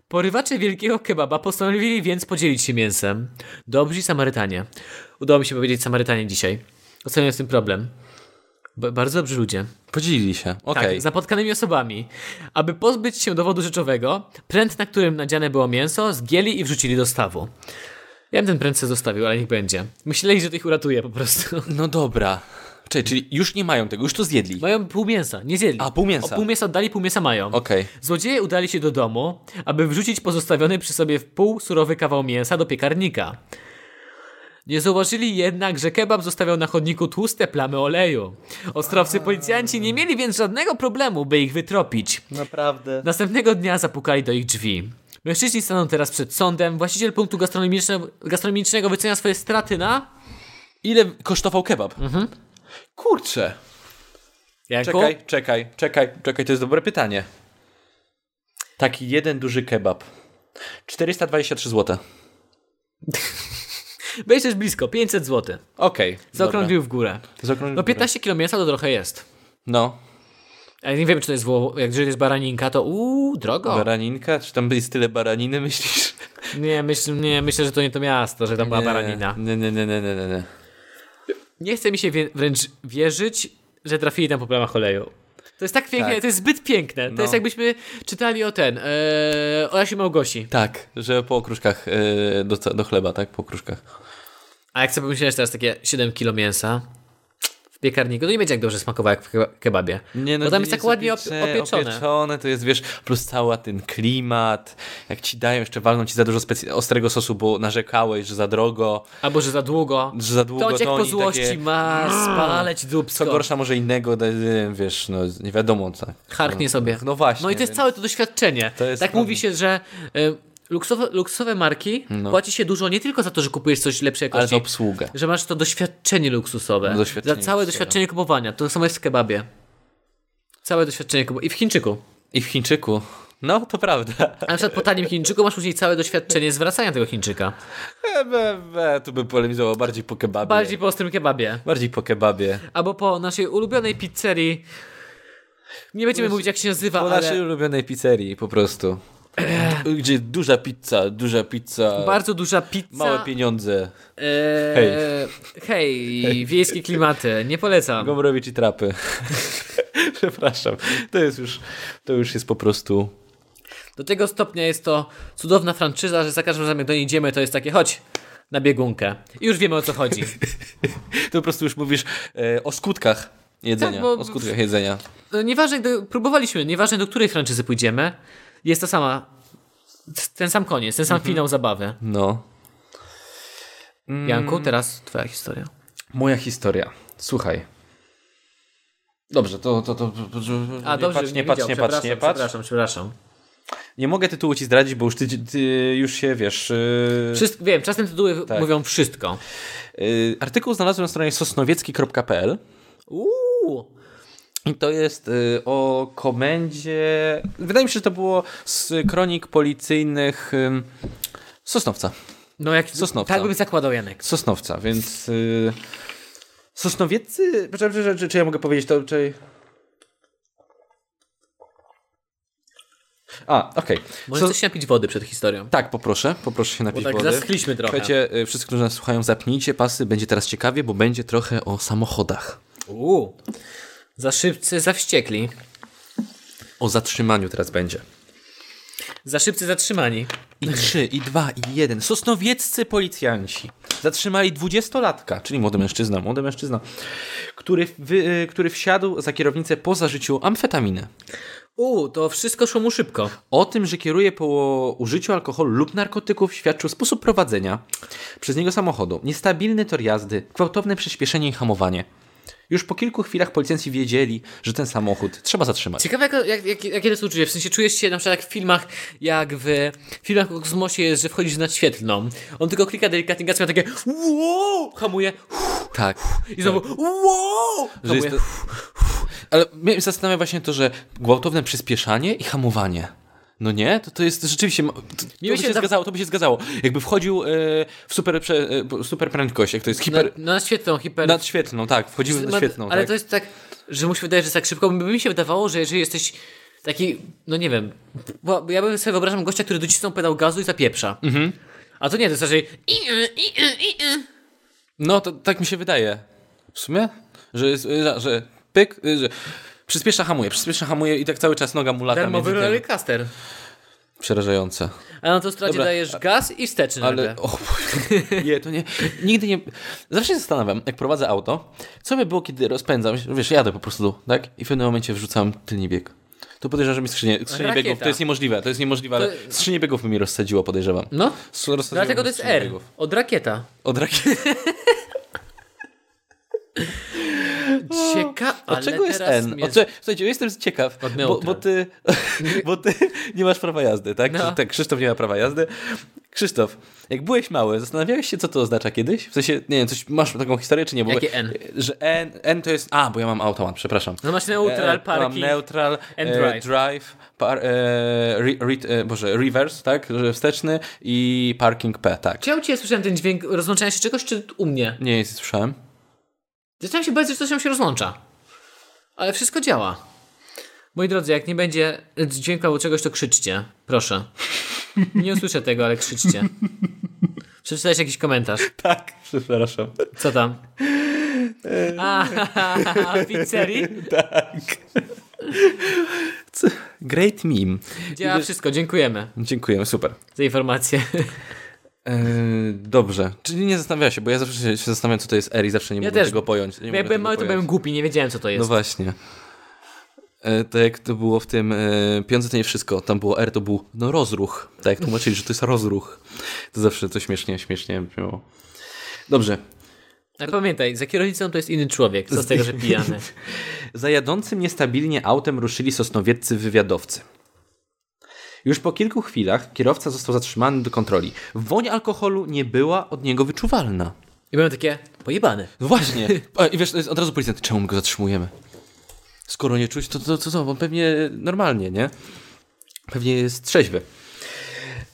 S2: Porywacze wielkiego kebaba postanowili więc podzielić się mięsem. Dobrzy Samarytanie. Udało mi się powiedzieć Samarytanie dzisiaj. Oceniając ten problem. Ba- bardzo dobrzy ludzie.
S1: Podzielili się.
S2: Tak,
S1: Okej.
S2: z napotkanymi osobami. Aby pozbyć się dowodu rzeczowego, pręt, na którym nadziane było mięso, zgięli i wrzucili do stawu. Ja bym ten pręt sobie zostawił, ale niech będzie. Myśleli, że to ich uratuje po prostu. (laughs)
S1: No dobra. Czyli, czyli już nie mają tego, już to zjedli.
S2: Mają pół mięsa, nie zjedli.
S1: A, pół mięsa.
S2: O, pół mięsa oddali, pół mięsa mają.
S1: Okej.
S2: Złodzieje udali się do domu, aby wrzucić pozostawiony przy sobie w pół surowy kawał mięsa do piekarnika. Nie zauważyli jednak, że kebab zostawiał na chodniku tłuste plamy oleju. Ostrowcy policjanci nie mieli więc żadnego problemu, by ich wytropić.
S4: Naprawdę.
S2: Następnego dnia zapukali do ich drzwi. Mężczyźni staną teraz przed sądem. Właściciel punktu gastronomiczne- gastronomicznego wycenia swoje straty na...
S1: Ile kosztował kebab? Kurczę.
S2: Janku?
S1: Czekaj, czekaj, czekaj, czekaj, to jest dobre pytanie. Taki jeden duży kebab. 423 zł.
S2: Wejdź też blisko, 500 zł.
S1: Okej.
S2: Zaokrąglił w górę.
S1: Zaokrąglił
S2: No
S1: w górę.
S2: 15 km to trochę jest.
S1: No,
S2: Ale nie wiem, czy to jest woło, jak jeżeli jest baraninka, to uuu, drogo.
S1: baraninka? Czy tam jest tyle baraniny, (laughs) myślisz?
S2: nie, myśl, nie, myślę, że to nie to miasto, że tam była baranina.
S1: Nie, nie, nie, nie, nie, nie, nie.
S2: Nie chce mi się wie, wręcz wierzyć, że trafili tam po plamach oleju. To jest tak piękne,
S1: Tak.
S2: to jest zbyt piękne. To
S1: No.
S2: jest jakbyśmy czytali o ten, e, o Jasi Małgosi.
S1: Tak, że po okruszkach yy, do, do chleba, tak? Po okruszkach.
S2: A jak sobie pomyślałeś teraz takie 7 kilo mięsa w piekarniku, to nie będzie jak dobrze smakowało jak w keba- kebabie.
S1: no,
S2: Bo tam jest tak ładnie op- opieczone.
S1: opieczone. to jest, wiesz, plus cały ten klimat. Jak ci dają, jeszcze walną ci za dużo specy- ostrego sosu, bo narzekałeś, że za drogo,
S2: Albo że za długo.
S1: że za długo
S2: Tociek
S1: to
S2: po
S1: oni
S2: złości
S1: takie...
S2: ma spaleć dupsko.
S1: Co gorsza, może innego, da- wiesz, no nie wiadomo, tak.
S2: Harknie
S1: no,
S2: sobie.
S1: No właśnie.
S2: No i to jest
S1: więc-
S2: całe to doświadczenie.
S1: To jest
S2: tak
S1: problem. No.
S2: mówi się, że y, luksowe, luksowe marki płaci się dużo nie tylko za to, że kupujesz coś lepszej
S1: Ale
S2: jakości,
S1: za obsługę.
S2: że masz to doświadczenie luksusowe.
S1: No, doświadczenie
S2: za całe
S1: luksusowe.
S2: doświadczenie kupowania. To samo jest w kebabie. Całe doświadczenie kupowania. I w Chińczyku.
S1: I w Chińczyku. No, to prawda.
S2: A na przykład po tanim Chińczyku masz później całe doświadczenie zwracania tego Chińczyka.
S1: E, be, be, tu by polemizował bardziej po kebabie.
S2: Bardziej po ostrym kebabie.
S1: bardziej po kebabie.
S2: Albo po naszej ulubionej pizzerii. Nie będziemy mówić jak się nazywa,
S1: Po
S2: ale
S1: naszej ulubionej pizzerii po prostu. Gdzie duża pizza, duża pizza,
S2: bardzo duża pizza.
S1: małe pieniądze,
S2: Eee, hej. wiejskie klimaty, nie polecam.
S1: Gombrowicz i trapy. (laughs) Przepraszam, to jest już, to już jest po prostu...
S2: Do tego stopnia jest to cudowna franczyza, że za każdym razem jak do niej idziemy, to jest takie chodź na biegunkę. I już wiemy o co chodzi.
S1: Ty po prostu już mówisz e, o skutkach jedzenia.
S2: Tak, bo-
S1: O skutkach jedzenia.
S2: No, Nieważne, do, próbowaliśmy, nieważne do której franczyzy pójdziemy, jest to sama, ten sam koniec, ten sam finał zabawy.
S1: No.
S2: Janku, teraz twoja historia.
S1: Moja historia. Słuchaj. Dobrze, to... to, to, to, to
S2: A,
S1: nie
S2: dobrze,
S1: patrz,
S2: nie
S1: nie
S2: widział,
S1: patrz, nie patrz,
S2: przepraszam,
S1: nie patrz.
S2: Przepraszam, przepraszam.
S1: Nie mogę tytułu ci zdradzić, bo już ty, ty już się, wiesz... Yy...
S2: Wszystko, wiem, czasem tytuły
S1: Tak.
S2: mówią wszystko.
S1: Yy, Artykuł znalazłem na stronie sosnowiecki.pl
S2: Uuu,
S1: i to jest yy, o komendzie. Wydaje mi się, że to było z kronik policyjnych ym, Sosnowca.
S2: no jak,
S1: Sosnowca.
S2: tak bym zakładał Janek.
S1: Sosnowca, więc. Yy, Sosnowieccy. Poczekaj, czy, czy, czy, czy ja mogę powiedzieć to? Czy... A, okej.
S2: Może
S1: So-
S2: coś napić wody przed historią.
S1: Tak, poproszę, poproszę się
S2: Bo
S1: napić
S2: tak
S1: wody.
S2: zaschliśmy trochę.
S1: Słuchajcie, yy, wszyscy, którzy nas słuchają, zapnijcie pasy, będzie teraz ciekawie, bo będzie trochę o samochodach.
S2: Uuu. Za szybcy, za wściekli.
S1: O zatrzymaniu teraz będzie.
S2: Za szybcy zatrzymani.
S1: I trzy, i dwa, i jeden. Sosnowieccy policjanci zatrzymali dwudziestolatka, czyli młody mężczyzna, młody mężczyzna, który, wy, który wsiadł za kierownicę po zażyciu amfetaminy.
S2: Uuu, to wszystko szło mu szybko.
S1: O tym, że kieruje po użyciu alkoholu lub narkotyków, świadczył sposób prowadzenia przez niego samochodu, niestabilny tor jazdy, gwałtowne przyspieszenie i hamowanie. Już po kilku chwilach policjanci wiedzieli, że ten samochód trzeba zatrzymać.
S2: Ciekawe, jak, jak, jak, jakie to jest uczucie. W sensie czujesz się na przykład jak w filmach, jak w, w filmach o kosmosie jest, że wchodzisz na świetlną. On tylko klika delikatnie gazem, a takie wow, hamuje
S1: Tak.
S2: i znowu wow,
S1: Że
S2: hamuje.
S1: jest to... Ale mnie zastanawia właśnie to, że gwałtowne przyspieszanie i hamowanie. No nie? To, to jest rzeczywiście... ma- To, to by
S2: się
S1: się
S2: za-
S1: zgadzało, to by się zgadzało. Jakby wchodził e, w super, prze, e, super prędkość, jak to jest
S2: Na,
S1: hiper...
S2: na świetlną, hiper...
S1: Nad świetną, tak. Wchodzimy
S2: Ma-
S1: nad świetną,
S2: Ale
S1: tak.
S2: to No- jest tak, że mu się wydaje, że jest tak szybko. By mi się wydawało, że jeżeli jesteś taki, no nie wiem, bo bo ja bym sobie wyobrażam gościa, który docisnął pedał gazu i zapieprza.
S1: Mhm.
S2: A to nie, to jest raczej i, y, i, y, i, y.
S1: No, to tak mi się wydaje. W sumie? Że jest... e, Że pyk, y, że przyspiesza, hamuje, przyspiesza, hamuje i tak cały czas noga mu lata
S2: Darmowy
S1: między tym.
S2: rollercaster.
S1: Przerażające.
S2: A na autostradzie
S1: Dobra,
S2: dajesz gaz i wsteczny
S1: Ale,
S2: nagle.
S1: o, Boże, nie, to nie, nigdy nie, zawsze się zastanawiam, jak prowadzę auto, co by było, kiedy rozpędzam się, wiesz, jadę po prostu, tak, i w pewnym momencie wrzucam tylny bieg. To podejrzewam, że mi skrzynię, skrzynię
S2: Rakieta.
S1: biegów, to jest niemożliwe, to jest niemożliwe, ale
S2: To-
S1: skrzynię biegów by mi rozsadziło, podejrzewam.
S2: No,
S1: S- rozsadziło
S2: dlatego
S1: mi
S2: to jest
S1: skrzynię
S2: R.
S1: biegów.
S2: Od rakieta.
S1: Od rakiety.
S2: Cieka, ale
S1: Dlaczego jest
S2: teraz
S1: N?
S2: mnie-
S1: O, cze- Słuchajcie, ja jestem ciekaw,
S2: Od
S1: bo,
S2: neutra.
S1: bo, ty, (laughs) bo ty nie masz prawa jazdy, tak?
S2: No.
S1: Tak, Krzysztof nie ma prawa jazdy. Krzysztof, jak byłeś mały, zastanawiałeś się, co to oznacza kiedyś? W sensie, nie wiem, coś, masz taką historię, czy nie? Bo,
S2: Jakie N?
S1: Że N, N to jest... A, bo ja mam automat, przepraszam.
S2: No masz neutral,
S1: E, Mam
S2: parking.
S1: neutral,
S2: and
S1: e,
S2: drive.
S1: drive par, e, re, re, e, boże, reverse, tak? Że Wsteczny i parking P, tak.
S2: Czy ja u Ciebie słyszałem ten dźwięk rozłączania się czegoś, czy u mnie?
S1: Nie, nie słyszałem.
S2: Zaczynam się bać, że coś tam się rozłącza. Ale wszystko działa. Moi drodzy, jak nie będzie dźwięku albo czegoś, to krzyczcie. Proszę. Nie usłyszę tego, ale krzyczcie. Przeczytałeś jakiś komentarz.
S1: Tak, (laughs) przepraszam.
S2: Co tam? A, (laughs) pizzerii?
S1: Co- Great meme.
S2: Działa wszystko, dziękujemy
S1: Dziękujemy, super.
S2: za informację.
S1: Eee, dobrze. Czyli nie zastanawiałeś się, bo ja zawsze się, się zastanawiam, co to jest R i zawsze nie
S2: Ja
S1: mogę
S2: też.
S1: tego pojąć. Nie
S2: Ja
S1: mogę
S2: byłem
S1: tego
S2: mały, to
S1: pojąć.
S2: byłem głupi, nie wiedziałem co to
S1: No
S2: jest.
S1: właśnie. E, tak jak to było w tym e, piące to nie wszystko, tam było R, to był no rozruch. Tak jak tłumaczyli, że to jest rozruch. To zawsze to śmiesznie, śmiesznie brzmiało. Dobrze.
S2: Ale pamiętaj, za kierownicą to jest inny człowiek, co z tego, że pijany.
S1: Za jadącym niestabilnie autem ruszyli sosnowieccy wywiadowcy. Już po kilku chwilach kierowca został zatrzymany do kontroli. Woń alkoholu nie była od niego wyczuwalna.
S2: I byłem takie, pojebany.
S1: No Właśnie. A, I wiesz, to jest od razu policjant, czemu my go zatrzymujemy? Skoro nie czuć, to co, to, to, to, on pewnie normalnie, nie? Pewnie jest trzeźwy.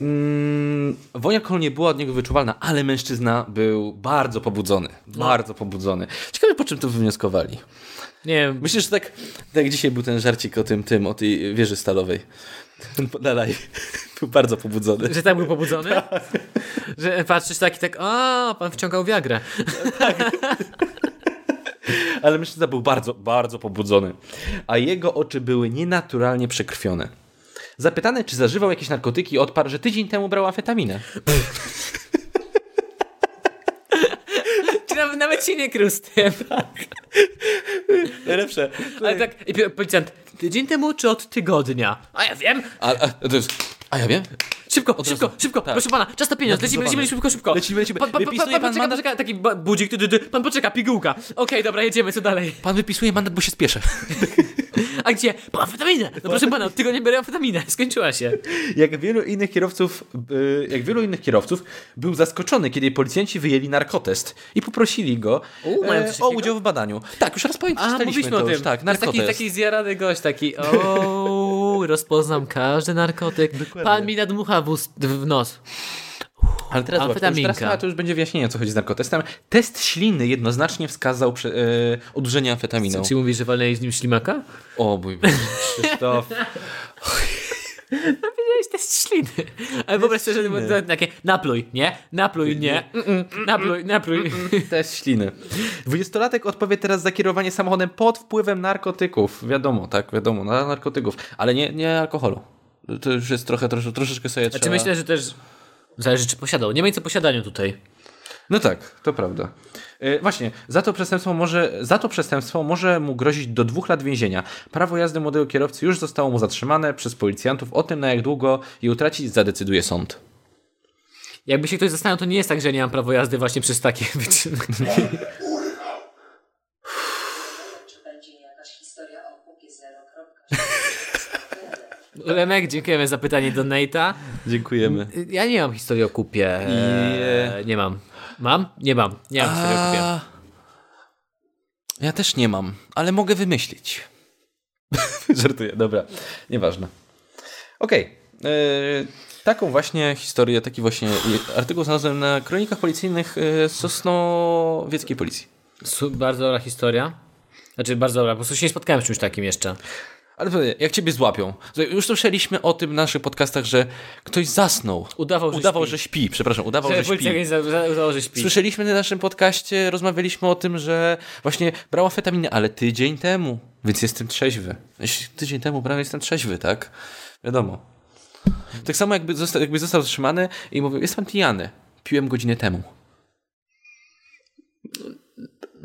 S1: Mm, woń alkoholu nie była od niego wyczuwalna, ale mężczyzna był bardzo pobudzony. Bardzo pobudzony. Ciekawe, po czym to wywnioskowali.
S2: Nie wiem,
S1: Myślę, że tak, tak jak dzisiaj był ten żarcik o tym, tym, o tej wieży stalowej. Na live. (laughs) Był bardzo pobudzony. (laughs)
S2: Że tak był pobudzony? Że patrzysz taki tak, a pan wciągał wiagrę.
S1: Ale mężczyzna był bardzo, bardzo pobudzony, a jego oczy były nienaturalnie przekrwione. Zapytany, czy zażywał jakieś narkotyki, odparł, że tydzień temu brał amfetaminę.
S2: Czy nawet, nawet się nie krył z tym.
S1: Tak. Najlepsze.
S2: Ale tak, i pi- policjant, tydzień temu czy od tygodnia? A ja wiem!
S1: A, a, to jest... a ja wiem?
S2: Szybko,
S1: Od
S2: szybko,
S1: razu.
S2: szybko,
S1: Tak.
S2: proszę pana, czas na pieniądz, lecimy, lecimy, lecimy, szybko, szybko.
S1: Lecimy, lecimy.
S2: Pan, pan, pan, pan,
S1: Wypisuje pan
S2: poczeka,
S1: mandat?
S2: poczeka, taki ba- budzik, ty, ty, ty, pan poczeka, pigułka. Okej, dobra, jedziemy, co dalej?
S1: Pan wypisuje mandat, bo się spieszę.
S2: A gdzie? Po amfetaminę! No proszę pana, od tygodnia biorę amfetaminę, skończyła się.
S1: Jak wielu innych kierowców, y, jak wielu innych kierowców, był zaskoczony, kiedy policjanci wyjęli narkotest i poprosili go e,
S2: U, mają coś
S1: o
S2: takiego?
S1: udział w badaniu. Tak, już raz pamiętam,
S2: A, mówiliśmy o
S1: to
S2: tym.
S1: Już, tak,
S2: To jest
S1: narkotest.
S2: taki, taki zjarany gość, taki (laughs) o, rozpoznam każdy narkotyk. Pan mi nadmucha w, ust, w nos.
S1: Ale teraz zobacz, to już, teraz,
S2: Amfetaminka.
S1: chyba to już będzie wyjaśnienie, o co chodzi z narkotestem. Test śliny jednoznacznie wskazał prze, e, odurzenie amfetaminą.
S2: Czy mówisz, że walnęli z nim ślimaka?
S1: O mój Boże, Krzysztof. (laughs)
S2: Powiedziałeś test śliny. Ale wyobraź sobie, że to było takie napluj, nie? Napluj, nie? Mm, mm, Napluj, napluj.
S1: Test śliny. Dwudziestolatek odpowie teraz za kierowanie samochodem pod wpływem narkotyków. Wiadomo, tak, wiadomo, na narkotyków. Ale nie, nie alkoholu. To już jest trochę, trosze, troszeczkę sobie
S2: (laughs) Znaczy
S1: trzeba...
S2: myślę, że też zależy, czy posiadał. Nie ma nic o posiadaniu tutaj.
S1: No tak, to prawda. E, Właśnie, za to, przestępstwo może, za to przestępstwo może mu grozić do dwóch lat więzienia. Prawo jazdy młodego kierowcy już zostało mu zatrzymane przez policjantów. O tym, na jak długo je utracić, zadecyduje sąd.
S2: Jakby się ktoś zastanawiał, to nie jest tak, że nie mam prawo jazdy właśnie przez takie (laughs) wyczyny.
S3: Czy będzie jakaś historia o kupie 0.7?
S2: Lemek, dziękujemy za pytanie do Nate'a.
S1: Dziękujemy.
S2: Ja nie mam historii o kupie. Eee, nie mam. Mam? Nie mam. Nie mam historii o kupie.
S1: Ja też nie mam, ale mogę wymyślić. (laughs) Żartuję, dobra. Nieważne. Okej. e, Taką właśnie historię, taki właśnie i- artykuł znalazłem na kronikach policyjnych e, Sosnowieckiej Policji.
S2: Su- bardzo dobra historia. Znaczy, bardzo dobra. Po prostu się nie spotkałem z czymś takim jeszcze.
S1: Ale powiem, jak ciebie złapią. Słuchaj, Już słyszeliśmy o tym w naszych podcastach, że ktoś zasnął.
S2: Udawał, że
S1: udawał
S2: śpi.
S1: że śpi. Przepraszam, udawał,
S2: Że
S1: że śpi.
S2: policja nie za- za- udało, że śpi.
S1: Słyszeliśmy na naszym podcaście, rozmawialiśmy o tym, że właśnie brała fetaminę, ale tydzień temu, więc jestem trzeźwy. Jeśli Tydzień temu prawie jestem trzeźwy, tak? Wiadomo. Tak samo jakby został, jakby został zatrzymany i mówił, jest pan pijany. Piłem godzinę temu.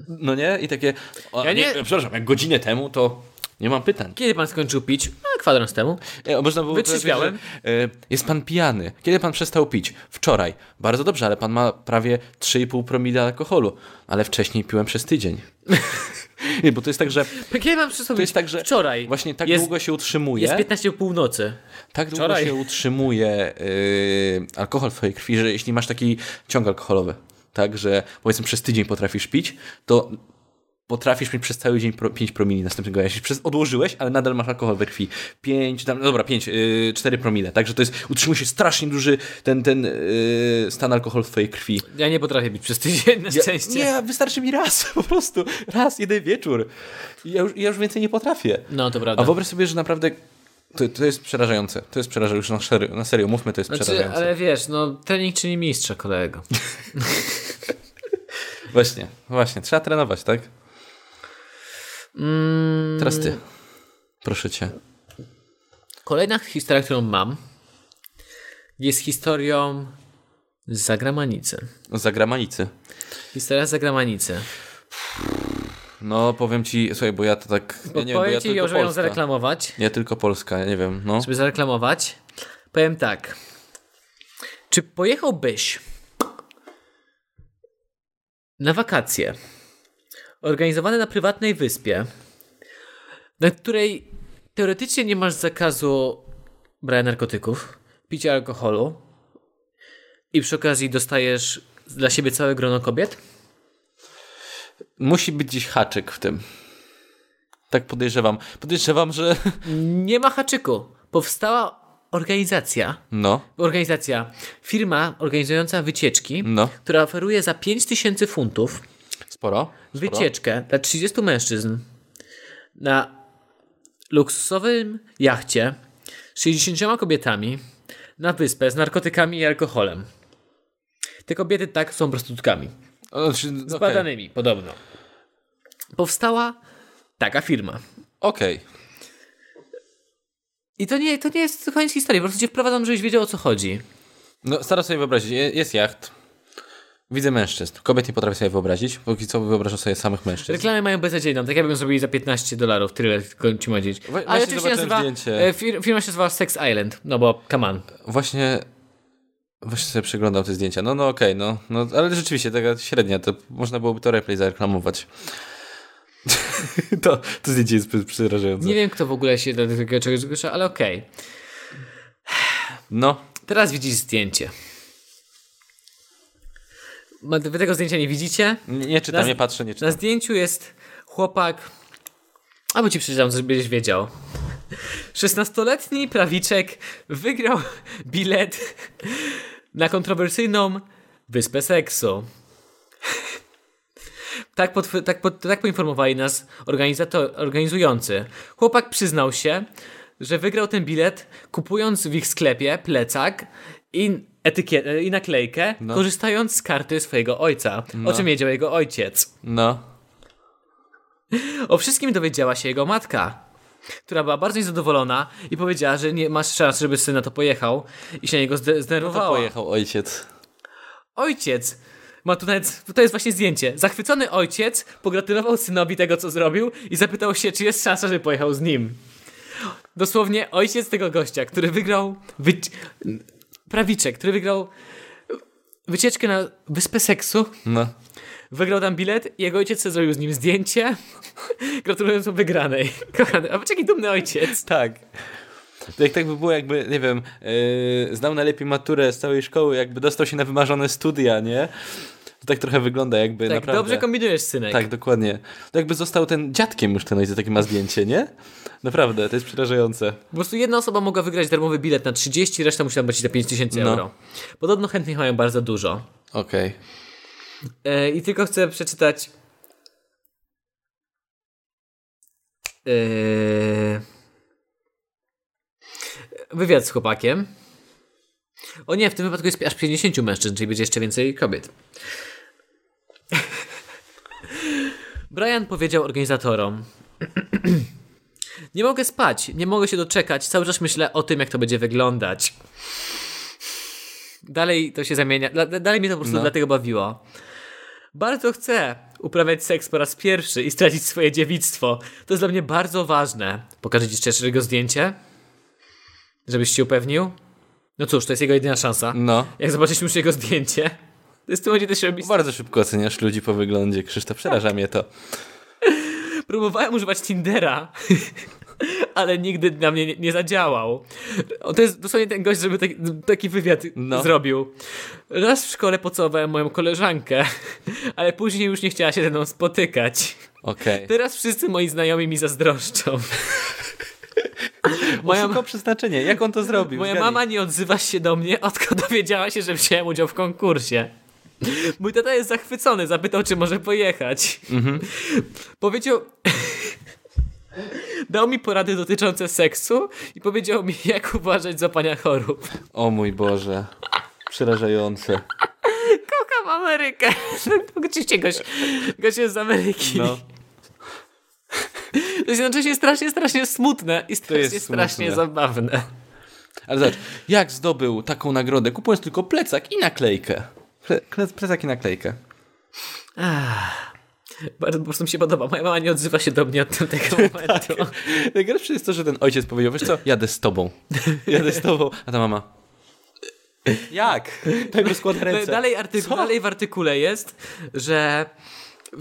S1: No nie? I takie... O,
S2: Ja
S1: nie,
S2: nie-
S1: Przepraszam, jak godzinę temu, to nie mam pytań.
S2: Kiedy pan skończył pić? A, kwadrans temu.
S1: E, o, można było
S2: Wytrzeźwiałem.
S1: powiedzieć, że, e, Jest pan pijany. Kiedy pan przestał pić? Wczoraj. Bardzo dobrze, ale pan ma prawie 3,5 promila alkoholu. Ale wcześniej piłem przez tydzień. (laughs) Nie, bo to jest tak, że
S2: Kiedy mam przysłowić?
S1: to jest tak, że
S2: Wczoraj.
S1: właśnie tak
S2: jest,
S1: długo się utrzymuje,
S2: Jest 15 po północy.
S1: tak długo
S2: wczoraj.
S1: się utrzymuje y, alkohol w twojej krwi, że jeśli masz taki ciąg alkoholowy, tak, że powiedzmy przez tydzień potrafisz pić, to potrafisz mieć przez cały dzień pro, 5 promili następnego dnia. Jeśli przez, odłożyłeś, ale nadal masz alkohol we krwi. 5, tam, no dobra, 5, yy, 4 promile. Także to jest, utrzymuje się strasznie duży ten, ten y, stan alkoholu w twojej krwi.
S2: Ja nie potrafię pić przez tydzień, na szczęście. Znaczy,
S1: Nie, wystarczy mi raz, (laughs) po prostu. Raz, jeden wieczór. I Ja już, ja już więcej nie potrafię.
S2: No, to prawda.
S1: A wyobraź sobie, że naprawdę to, to jest przerażające. To jest przerażające. Już na serio, na serio mówmy, to jest
S2: Znaczy,
S1: przerażające.
S2: ale wiesz, no trening czyni mistrza, kolego.
S1: Właśnie, właśnie. Trzeba trenować, tak?
S2: Mm,
S1: Teraz ty. Proszę cię.
S2: kolejna historia, którą mam, jest historią z zagranicy.
S1: Za granicy.
S2: Historia z zagranicy.
S1: No, powiem ci, słuchaj, bo ja to tak... Ja nie wiem, bo ja
S2: Powiem ci,
S1: tylko
S2: że ją
S1: Polska.
S2: zareklamować.
S1: Ja tylko Polska, ja nie wiem, no.
S2: żeby zareklamować. Powiem tak. Czy pojechałbyś na wakacje organizowane na prywatnej wyspie, na której teoretycznie nie masz zakazu brania narkotyków, picia alkoholu i przy okazji dostajesz dla siebie całe grono kobiet?
S1: Musi być gdzieś haczyk w tym. Tak podejrzewam. Podejrzewam, że... (laughs)
S2: Nie ma haczyku. Powstała organizacja,
S1: No,
S2: organizacja, firma organizująca wycieczki,
S1: no.
S2: która oferuje za 5000 funtów
S1: Sporo. sporo.
S2: wycieczkę dla 30 mężczyzn na luksusowym jachcie z 60 kobietami na wyspę z narkotykami i alkoholem. Te kobiety tak są prostytutkami.
S1: O, Znaczy, okej.
S2: Badanymi, podobno. Powstała taka firma.
S1: Okej.
S2: I to nie, to nie jest koniec historii, po prostu cię wprowadzam, żebyś wiedział o co chodzi.
S1: No, staram sobie wyobrazić. Je- Jest jacht. Widzę mężczyzn. Kobiet nie potrafię sobie wyobrazić. Póki co wyobrażam sobie samych mężczyzn.
S2: Reklamy mają beznadziejną, tak jakbym zrobili za 15 dolarów, tyle tylko ci ma dzieć.
S1: właśnie
S2: Ale oczywiście
S1: zobaczyłem
S2: nazywa,
S1: zdjęcie.
S2: e, fir- firma się nazywa Sex Island, no bo come on.
S1: Właśnie... Właśnie sobie przeglądam te zdjęcia. No, no okej, no, no. Ale rzeczywiście, taka średnia, to można byłoby to replay zareklamować. (laughs) to, to zdjęcie jest p- przerażające.
S2: Nie wiem, kto w ogóle się do tego czegoś zgłasza, ale okej.
S1: No.
S2: Teraz widzisz zdjęcie. Ma- Wy tego zdjęcia nie widzicie?
S1: Nie, nie czytam,
S2: Na z-
S1: nie patrzę, nie
S2: Na
S1: czytam.
S2: zdjęciu jest chłopak. Albo ci przeczytam, żebyś wiedział. 16-letni prawiczek wygrał bilet na kontrowersyjną wyspę seksu. Tak, potw- tak, pod- tak poinformowali nas organizator- organizujący. Chłopak przyznał się, że wygrał ten bilet kupując w ich sklepie plecak i, etykietę, i naklejkę, korzystając z karty swojego ojca, o czym wiedział jego ojciec.
S1: No.
S2: O wszystkim dowiedziała się jego matka, która była bardzo niezadowolona i powiedziała, że nie masz szans, żeby syn na to pojechał i się na niego zde-
S1: No To
S2: zdenerwowała.
S1: pojechał ojciec.
S2: ojciec ma tu nawet, to jest właśnie zdjęcie. Zachwycony ojciec pogratulował synowi tego, co zrobił i zapytał się, czy jest szansa, że pojechał z nim. Dosłownie ojciec tego gościa, który wygrał wyci- prawiczek, który wygrał wycieczkę na wyspę seksu,
S1: No.
S2: Wygrał tam bilet i jego ojciec sobie zrobił z nim zdjęcie, (laughs) gratulując mu wygranej. (laughs) Kochany, a patrz jaki dumny ojciec.
S1: Tak. To jak tak by było, jakby, nie wiem, yy, znał najlepiej maturę z całej szkoły, jakby dostał się na wymarzone studia, nie? To tak trochę wygląda, jakby
S2: Tak,
S1: naprawdę.
S2: dobrze kombinujesz, synek.
S1: Tak, dokładnie. To jakby został ten dziadkiem już ten ojciec, takie ma zdjęcie, nie? Naprawdę, to jest przerażające.
S2: Po prostu jedna osoba mogła wygrać darmowy bilet na 30, reszta musiała płacić za 5000
S1: No.
S2: euro. Podobno chętnych mają bardzo dużo.
S1: Okej.
S2: E, I tylko chcę przeczytać. E, wywiad z chłopakiem. O nie, w tym wypadku jest aż 50 mężczyzn, czyli będzie jeszcze więcej kobiet. Brian powiedział organizatorom: Nie mogę spać, nie mogę się doczekać, cały czas myślę o tym, jak to będzie wyglądać. Dalej to się zamienia, dla- dalej mnie to po prostu
S1: No.
S2: dlatego bawiło. Bardzo chcę uprawiać seks po raz pierwszy i stracić swoje dziewictwo. To jest dla mnie bardzo ważne. Pokażę ci jeszcze jego zdjęcie? Żebyś się upewnił? No cóż, to jest jego jedyna szansa.
S1: No.
S2: Jak zobaczyliśmy już jego zdjęcie, to jest w tym momencie też robi
S1: Bardzo szybko oceniasz ludzi po wyglądzie, Krzysztof,
S2: Tak.
S1: przeraża mnie to.
S2: Próbowałem używać Tindera, (laughs) ale nigdy na mnie nie, nie zadziałał. O, to jest dosłownie ten gość, żeby taki, taki wywiad
S1: No.
S2: zrobił. Raz w szkole pocałowałem moją koleżankę, (laughs) ale później już nie chciała się ze mną spotykać.
S1: Okej.
S2: Teraz wszyscy moi znajomi mi zazdroszczą. Moja,
S1: Moja... przeznaczenie, jak
S2: (laughs)
S1: on to zrobił?
S2: moja
S1: Zgadnij.
S2: mama nie odzywa się do mnie, odkąd dowiedziała się, że wziąłem udział w konkursie. Mój tata jest zachwycony, zapytał, czy może pojechać.
S1: Mhm.
S2: Powiedział. Dał mi porady dotyczące seksu i powiedział mi, jak uważać za pania chorób.
S1: O mój Boże. Przerażające.
S2: Kocham Amerykę. (laughs) Oczywiście gość, gość jest z Ameryki.
S1: No.
S2: To jest jednocześnie strasznie, strasznie smutne i strasznie,
S1: jest
S2: strasznie
S1: smutne.
S2: zabawne.
S1: Ale zobacz, jak zdobył taką nagrodę, kupując tylko plecak i naklejkę. Ple- ple- Plecak i naklejkę.
S2: Bardzo po prostu mi się podoba. Moja mama nie odzywa się do mnie od
S1: (laughs)
S2: tego momentu.
S1: Najgorsze jest to, że ten ojciec powiedział, wiesz co, jadę z (laughs) tobą. Jadę z tobą. A ta mama... Jak? (laughs) Tak rozkłada ręce.
S2: Dalej, artyku- dalej w artykule jest, że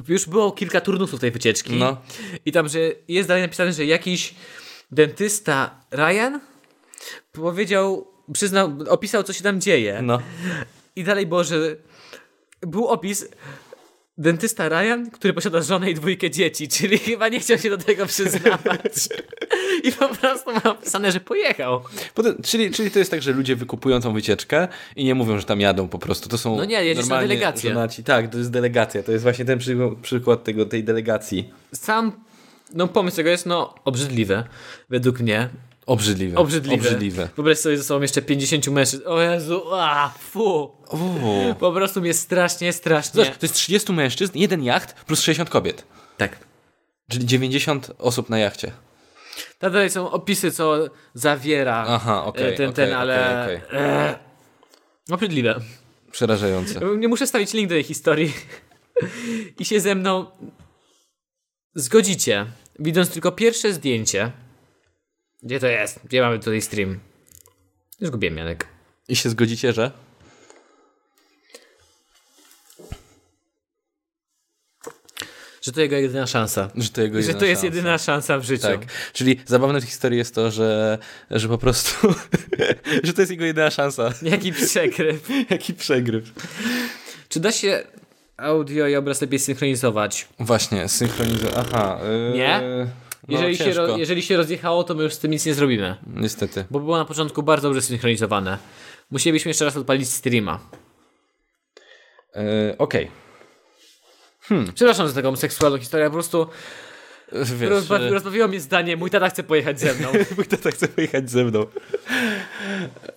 S2: już było kilka turnusów tej wycieczki.
S1: No.
S2: I tam, że jest dalej napisane, że jakiś dentysta Ryan powiedział, przyznał, opisał, co się tam dzieje.
S1: No.
S2: I dalej było, że był opis dentysta Ryan, który posiada żonę i dwójkę dzieci, (laughs) czyli chyba nie chciał się do tego
S1: (laughs)
S2: przyznawać. I po prostu ma opisane, że pojechał.
S1: Potem, czyli, czyli to jest tak, że ludzie wykupują tą wycieczkę i nie mówią, że tam jadą po prostu. To są
S2: No nie, jedziesz na
S1: normalnie
S2: delegację.
S1: żonaci. Tak, to jest delegacja. To jest właśnie ten przygo- przykład tego, tej delegacji.
S2: Sam no pomysł tego jest no obrzydliwy według mnie.
S1: Obrzydliwe.
S2: Obrzydliwe.
S1: Obrzydliwe.
S2: Wyobraź sobie ze sobą jeszcze 50 mężczyzn. O Jezu, a, fu.
S1: Uuu.
S2: Po prostu mnie strasznie, strasznie.
S1: Zobacz, to jest 30 mężczyzn, jeden jacht plus 60 kobiet.
S2: Tak.
S1: Czyli 90 osób na jachcie.
S2: Tam dalej są opisy, co zawiera
S1: Aha, okej,
S2: e, ten, ten,
S1: okej,
S2: ale...
S1: okej,
S2: e, Obrzydliwe.
S1: Przerażające.
S2: Nie muszę stawić link do tej historii. (laughs) I się ze mną zgodzicie, widząc tylko pierwsze zdjęcie. Gdzie to jest? Gdzie mamy tutaj stream? Zgubiłem Janek.
S1: I się zgodzicie, że?
S2: Że to jego jedyna szansa.
S1: Że to jego
S2: Że
S1: jedyna
S2: to jest
S1: szansa.
S2: jedyna szansa w życiu.
S1: Tak. Czyli zabawne w historii jest to, że, że po prostu. (laughs) że to jest jego jedyna szansa.
S2: Jaki przekryw.
S1: Jaki przegryw.
S2: Czy da się audio i obraz lepiej synchronizować?
S1: Właśnie, synchronizacja. Aha. Yy,
S2: Nie?
S1: No,
S2: Jeżeli, się
S1: ciężko.
S2: ro, jeżeli się rozjechało, to my już z tym nic nie zrobimy.
S1: Niestety.
S2: Bo było na początku bardzo dobrze synchronizowane. Musielibyśmy jeszcze raz odpalić streama.
S1: Yy, Okej.
S2: Przepraszam za taką seksualną historię, po prostu
S1: Wiesz,
S2: rozba
S1: yy,
S2: rozbawiło mnie zdanie, mój tata chce pojechać ze
S1: (laughs)
S2: mną.
S1: Mój tata tak chce pojechać ze mną.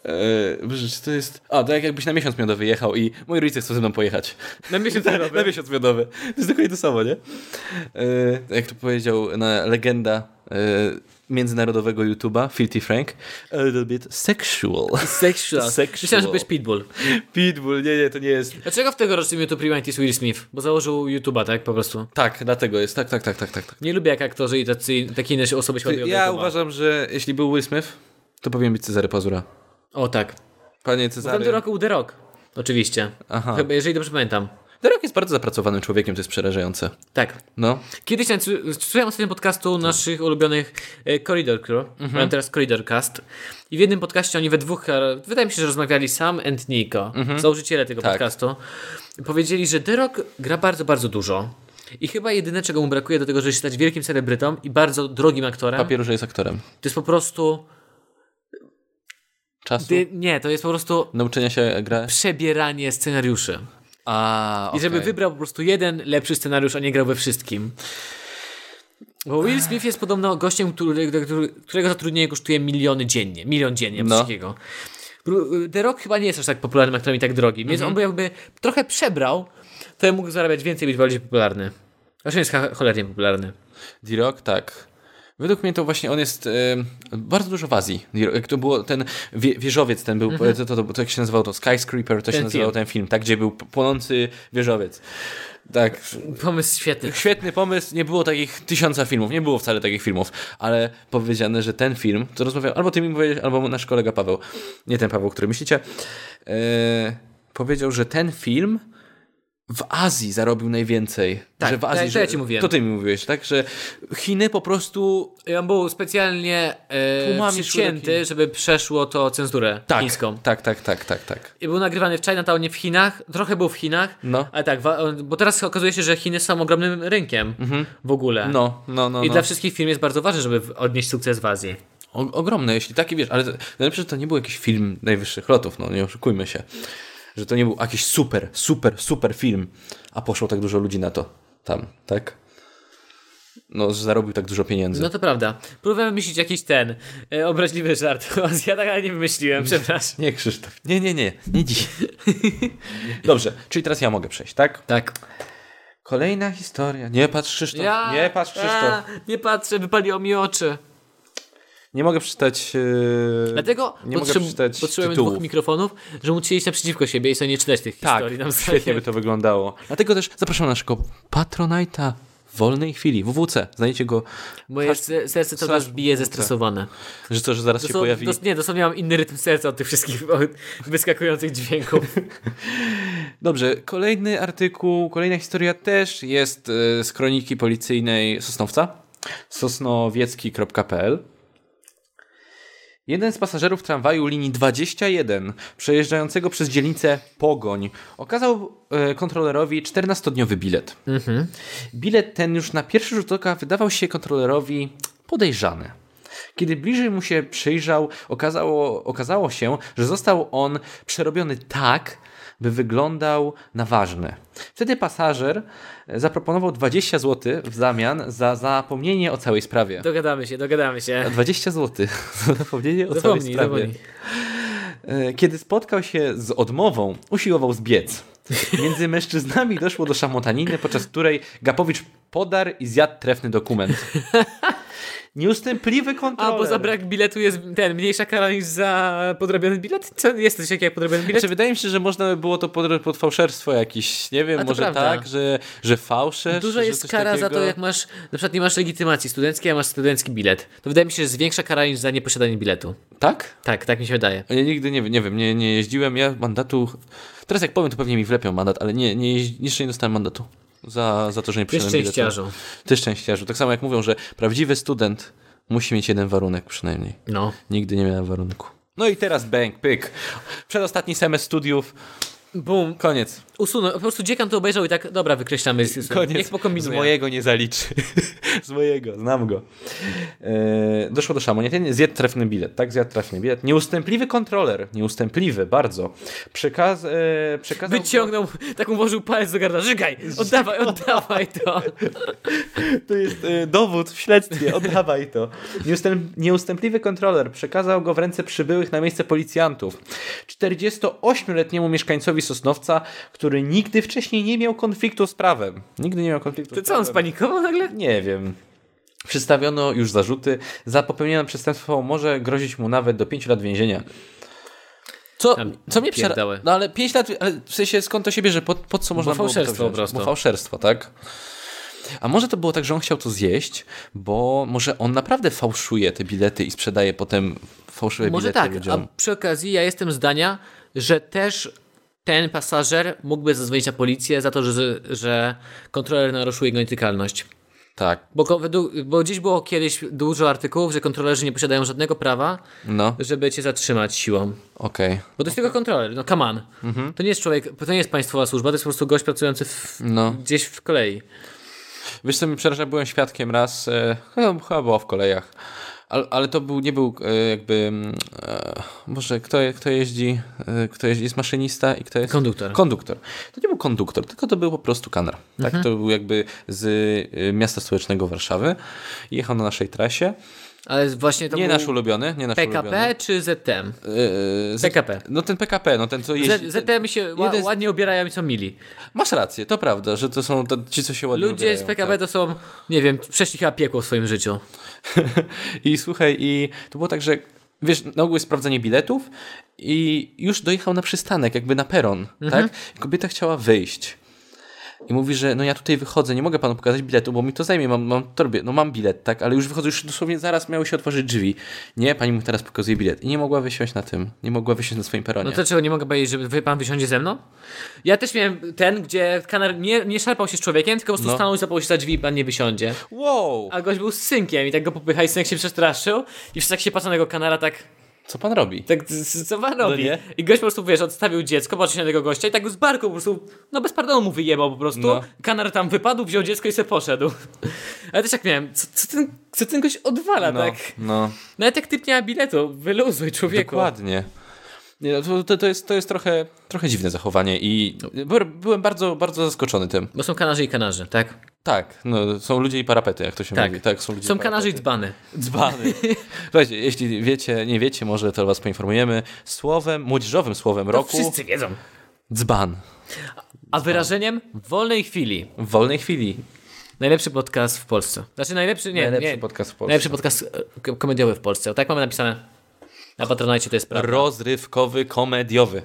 S1: Eee, Boże, czy to jest... A, to jak jakbyś na miesiąc miodowy jechał i moi rodzice chcą ze mną pojechać.
S2: Na miesiąc
S1: Tak, Na
S2: miodowy.
S1: miesiąc miodowy. To jest dokładnie to samo, nie? Eee, jak to powiedział na legenda eee, międzynarodowego YouTube'a, Filthy Frank, a little bit sexual.
S2: Sexual.
S1: Sexual.
S2: Myślałem, że byłeś Pitbull.
S1: (laughs) Pitbull, nie, nie, to nie jest...
S2: Dlaczego w tegorocznym YouTube Rewind jest Will Smith? Bo założył YouTube'a, tak? Po prostu.
S1: Tak, dlatego jest, tak, tak, tak, tak, tak. tak.
S2: Nie lubię jak aktorzy i tacy, takie inne osoby się odbierają
S1: Ja
S2: do YouTube'a.
S1: uważam, że jeśli był Will Smith, to powinien być Cezary Pazura.
S2: O tak.
S1: Panie
S2: W tamtym
S1: Cezary.
S2: roku był The Rock. Oczywiście.
S1: Aha.
S2: Chyba, jeżeli dobrze pamiętam.
S1: Derek jest bardzo zapracowanym człowiekiem, to jest przerażające.
S2: Tak.
S1: No.
S2: Kiedyś tam słu- słuchałem ostatnio podcastu naszych ulubionych e, Corridor Crew. Mają teraz Corridor Cast. I w jednym podcaście oni we dwóch, e, wydaje mi się, że rozmawiali Sam and Nico, założyciele tego
S1: Tak.
S2: podcastu. Powiedzieli, że The Rock gra bardzo, bardzo dużo. I chyba jedyne, czego mu brakuje do tego, żeby się stać wielkim celebrytą i bardzo drogim aktorem,
S1: Papieru, że jest aktorem.
S2: to jest po prostu...
S1: Czasu?
S2: Ty, nie, to jest po prostu
S1: Nauczenia się gra?
S2: przebieranie scenariuszy.
S1: A,
S2: I żeby wybrał po prostu jeden lepszy scenariusz, a nie grał we wszystkim. Bo Will Smith jest podobno gościem, który, który- którego zatrudnienie kosztuje miliony dziennie. Milion dziennie
S1: No.
S2: wszystkiego. Bru- The Rock chyba nie jest aż tak popularnym aktorem i tak drogim,
S1: Mhm.
S2: więc on by jakby trochę przebrał, to ja mógł zarabiać więcej i być bardziej popularny. Zresztą jest cho- cholernie popularny.
S1: D-Rock, tak. Według mnie to właśnie on jest em, bardzo dużo w Azji. D-Rock. Jak to było ten wie, wieżowiec, ten był, to, to, to, to jak się nazywał to Skyscraper, to się
S2: Mhm. Ten
S1: nazywał
S2: film.
S1: ten film, tak, gdzie był p- płonący wieżowiec. Tak.
S2: Pomysł świetny.
S1: Świetny pomysł, nie było takich tysiąca filmów, nie było wcale takich filmów, ale powiedziane, że ten film, to rozmawiał, albo ty mi powiedziałeś, albo nasz kolega Paweł, nie ten Paweł, który myślicie, e, powiedział, że ten film w Azji zarobił najwięcej.
S2: Tak,
S1: że w
S2: tak,
S1: Azji,
S2: to
S1: że,
S2: ja ci mówiłem.
S1: To ty mi mówiłeś, tak, że Chiny po prostu
S2: I on był specjalnie e,
S1: Tłumami szły do
S2: przycięty,
S1: kin.
S2: żeby przeszło to cenzurę
S1: tak,
S2: chińską.
S1: Tak, tak, tak, tak, tak.
S2: I był nagrywany w Chinatownie w Chinach, trochę był w Chinach,
S1: No.
S2: ale tak, wa- bo teraz okazuje się, że Chiny są ogromnym rynkiem w ogóle.
S1: Mhm. No, no, no.
S2: I
S1: no.
S2: dla wszystkich firm jest bardzo ważne, żeby w- odnieść sukces w Azji.
S1: O, ogromne, jeśli taki wiesz, ale to- najlepsze, że to nie był jakiś film najwyższych lotów, no nie oszukujmy się. Że to nie był jakiś super, super, super film, a poszło tak dużo ludzi na to tam, tak? No, że zarobił tak dużo pieniędzy.
S2: No to prawda. Próbowałem myślić jakiś ten e, obraźliwy żart o Azjatach, ale nie wymyśliłem, przepraszam.
S1: Nie, Krzysztof. Nie, nie, nie, nie dziś. (laughs) Dobrze, czyli teraz ja mogę przejść, tak?
S2: Tak.
S1: Kolejna historia. Nie patrz, Krzysztof. Nie patrz, Krzysztof.
S2: A, nie patrzę, wypaliło mi oczy.
S1: Nie mogę przeczytać. Yy...
S2: Dlatego
S1: nie
S2: potrzeb-
S1: mogę przeczytać
S2: potrzebujemy
S1: tytułów.
S2: dwóch mikrofonów, żeby móc siedzieć naprzeciwko siebie i sobie nie czytać tych
S1: Tak,
S2: historii. nam
S1: świetnie by to wyglądało. Dlatego też zapraszam na naszego Patronite'a w wolnej chwili, WWC. Znajdziecie go,
S2: Moje se- serce to
S1: Slash
S2: nas bije zestresowane.
S1: że co, że zaraz się
S2: Dosto-
S1: pojawi.
S2: dos- nie, dosłownie mam inny rytm serca od tych wszystkich (laughs) od wyskakujących
S1: (laughs)
S2: dźwięków.
S1: Dobrze, kolejny artykuł, kolejna historia też jest e, z kroniki policyjnej Sosnowca. sosnowiecki.pl Jeden z pasażerów tramwaju linii 21 przejeżdżającego przez dzielnicę Pogoń okazał e, kontrolerowi 14-dniowy bilet. Bilet ten już na pierwszy rzut oka wydawał się kontrolerowi podejrzany. Kiedy bliżej mu się przyjrzał, okazało, okazało się, że został on przerobiony tak, by wyglądał na ważny. Wtedy pasażer e, zaproponował 20 zł w zamian za zapomnienie o całej sprawie.
S2: Dogadamy się, dogadamy się.
S1: 20 zł za (laughs) zapomnienie o
S2: (laughs) Zapomnij,
S1: całej sprawie.
S2: zapomnij.
S1: E, Kiedy spotkał się z odmową, usiłował zbiec. Między mężczyznami doszło do szamotaniny, podczas której Gapowicz podarł i zjadł trefny dokument. Nieustępliwy
S2: A,
S1: kontroler.
S2: bo za brak biletu jest ten, mniejsza kara niż za podrobiony bilet? Co, jest coś takiego jak podrobiony bilet?
S1: Znaczy, wydaje mi się, że można by było to pod, pod fałszerstwo jakieś, nie
S2: A
S1: wiem,
S2: to
S1: może
S2: prawda.
S1: tak, że, że fałszerz,
S2: Duża
S1: że
S2: jest
S1: coś
S2: kara za
S1: takiego.
S2: to, jak masz, na przykład nie masz legitymacji studenckiej, a masz studencki bilet. To wydaje mi się, że jest większa kara niż za nieposiadanie biletu.
S1: Tak?
S2: Tak, tak mi się wydaje.
S1: Ja nigdy nie, wiem- nie wiem, nie, nie jeździłem, ja mandatu... Teraz jak powiem, to pewnie mi wlepią mandat, ale nie, nie jeździ- jeszcze nie dostałem mandatu za, za to, że nie
S2: Ty
S1: przyszedłem
S2: szczęściarzu.
S1: Ty szczęściarzu. Tak samo jak mówią, że prawdziwy student musi mieć jeden warunek przynajmniej.
S2: No.
S1: Nigdy nie miałem warunku. No i teraz bang, pyk. Przedostatni semestr studiów,
S2: Bum.
S1: koniec.
S2: Usunął. Po prostu dziekan to obejrzał i tak, dobra, wykreślamy. z- z-
S1: Koniec.
S2: Niech
S1: Z
S2: pokombinuje.
S1: mojego nie zaliczy. (laughs) z mojego, znam go. E, doszło do szamoniatyny, zjadł trefny bilet, tak? Zjadł trefny bilet. Nieustępliwy kontroler, nieustępliwy bardzo, przekaz, e, przekazał...
S2: Wyciągnął, tak ułożył palec do gardła. Żygaj!
S1: (laughs)
S2: Oddawaj, oddawaj to!
S1: To jest y, dowód w śledztwie, (laughs) oddawaj to. Nieustęp, nieustępliwy kontroler przekazał go w ręce przybyłych na miejsce policjantów. 48-letniemu mieszkańcowi Sosnowca, który nigdy wcześniej nie miał konfliktu z prawem. Nigdy nie miał konfliktu
S2: To
S1: z
S2: co, on
S1: prawem.
S2: spanikował nagle?
S1: Nie wiem. Przedstawiono już zarzuty. Za popełnione przestępstwo może grozić mu nawet do 5 lat więzienia. Co,
S2: Tam
S1: co mnie przeraża?
S2: pierdały.
S1: No ale 5 lat, ale w sensie skąd to się bierze? Po, po co można było
S2: fałszerstwo
S1: to wziąć?
S2: po prostu.
S1: Bo fałszerstwo, tak? A może to było tak, że on chciał to zjeść, bo może on naprawdę fałszuje te bilety i sprzedaje potem fałszywe
S2: Może
S1: bilety
S2: tak,
S1: ludziom.
S2: a przy okazji ja jestem zdania, że też ten pasażer mógłby zadzwonić na policję za to, że, że kontroler naruszył jego nietykalność.
S1: Tak,
S2: Bo, ko- według- bo gdzieś było kiedyś dużo artykułów, że kontrolerzy nie posiadają żadnego prawa,
S1: no,
S2: żeby cię zatrzymać siłą.
S1: okej.
S2: Bo to jest tylko kontroler, no come on.
S1: Mhm.
S2: To nie jest człowiek, to nie jest państwowa służba, to jest po prostu gość pracujący w,
S1: No.
S2: gdzieś w kolei.
S1: Wiesz co mi przeraża, byłem świadkiem raz, e, chyba chyba było w kolejach, Ale, ale to był, nie był e, jakby. mm, E, może kto, je- kto jeździ? E, kto jeździ? Jest maszynista i kto jest.
S2: Konduktor.
S1: Konduktor. To nie był konduktor, tylko to był po prostu kanar. Tak?
S2: Mhm.
S1: To był jakby z y, miasta stołecznego Warszawy. Jechał na naszej trasie.
S2: Ale właśnie to
S1: nie
S2: był
S1: nasz ulubiony, nie nasz ulubiony.
S2: PKP czy ZTM?
S1: Y, y, z-
S2: PKP.
S1: No ten PKP, no ten co jeździ.
S2: Z, ZTM się ła,
S1: jeden z-
S2: ładnie obierają i są mili.
S1: Masz rację, to prawda, że to są to, ci, co się ładnie
S2: Ludzie z
S1: ubierają, tak.
S2: PKB to są, nie wiem, przeszli chyba piekło w swoim życiu.
S1: (laughs) I słuchaj, i to było tak, że wiesz, na ogół jest sprawdzenie biletów i już dojechał na przystanek, jakby na peron,
S2: Mhm.
S1: tak? I kobieta chciała wyjść. I mówi, że no ja tutaj wychodzę, nie mogę panu pokazać biletu, bo mi to zajmie, mam, mam w torbie, no mam bilet, tak, ale już wychodzę, już dosłownie zaraz miały się otworzyć drzwi. Nie, pani mu teraz pokazuje bilet. I nie mogła wysiąść na tym, nie mogła wysiąść na swoim peronie.
S2: No to czego nie mogę powiedzieć, że wy pan wysiądzie ze mną? Ja też miałem ten, gdzie kanar nie, nie szarpał się z człowiekiem, tylko po prostu
S1: No.
S2: stanął i zapał się za drzwi i pan nie wysiądzie.
S1: Wow,
S2: A gość był z synkiem i tak go popycha i synek się przestraszył i wszyscy tak się patrzą na tego kanara tak,
S1: co pan robi?
S2: tak z- z- co pan robi?
S1: No nie?
S2: I gość po prostu, wiesz, odstawił dziecko, patrzył się na tego gościa i tak go z barku po prostu, no bez pardonu mu wyjebał po prostu.
S1: No.
S2: Kanar tam wypadł, wziął dziecko i se poszedł. (laughs) Ale też jak miałem, co, co, ten, co ten gość odwala,
S1: No,
S2: tak?
S1: no.
S2: Nawet jak typ nie ma biletu, no, wyluzuj człowieku.
S1: Dokładnie. Nie, no to, to, to jest, to jest trochę, trochę dziwne zachowanie i by- byłem bardzo, bardzo zaskoczony tym.
S2: Bo są kanarzy i kanarzy, tak?
S1: Tak, no, są ludzie i parapety, jak to się
S2: Tak.
S1: mówi. Tak, są ludzie
S2: Są
S1: i
S2: kanarzy i
S1: parapety.
S2: dzbany. (laughs)
S1: dzbany. Słuchajcie, jeśli wiecie, nie wiecie, może to was poinformujemy. Słowem, młodzieżowym słowem roku
S2: Wszyscy wiedzą.
S1: dzban.
S2: A wyrażeniem w wolnej chwili.
S1: W wolnej chwili.
S2: Najlepszy podcast w Polsce. Znaczy najlepszy, nie,
S1: Najlepszy
S2: nie.
S1: podcast w Polsce.
S2: Najlepszy podcast e, ko- komediowy w Polsce. O, tak mamy napisane. Na Patronite to jest prawda.
S1: Rozrywkowy, komediowy.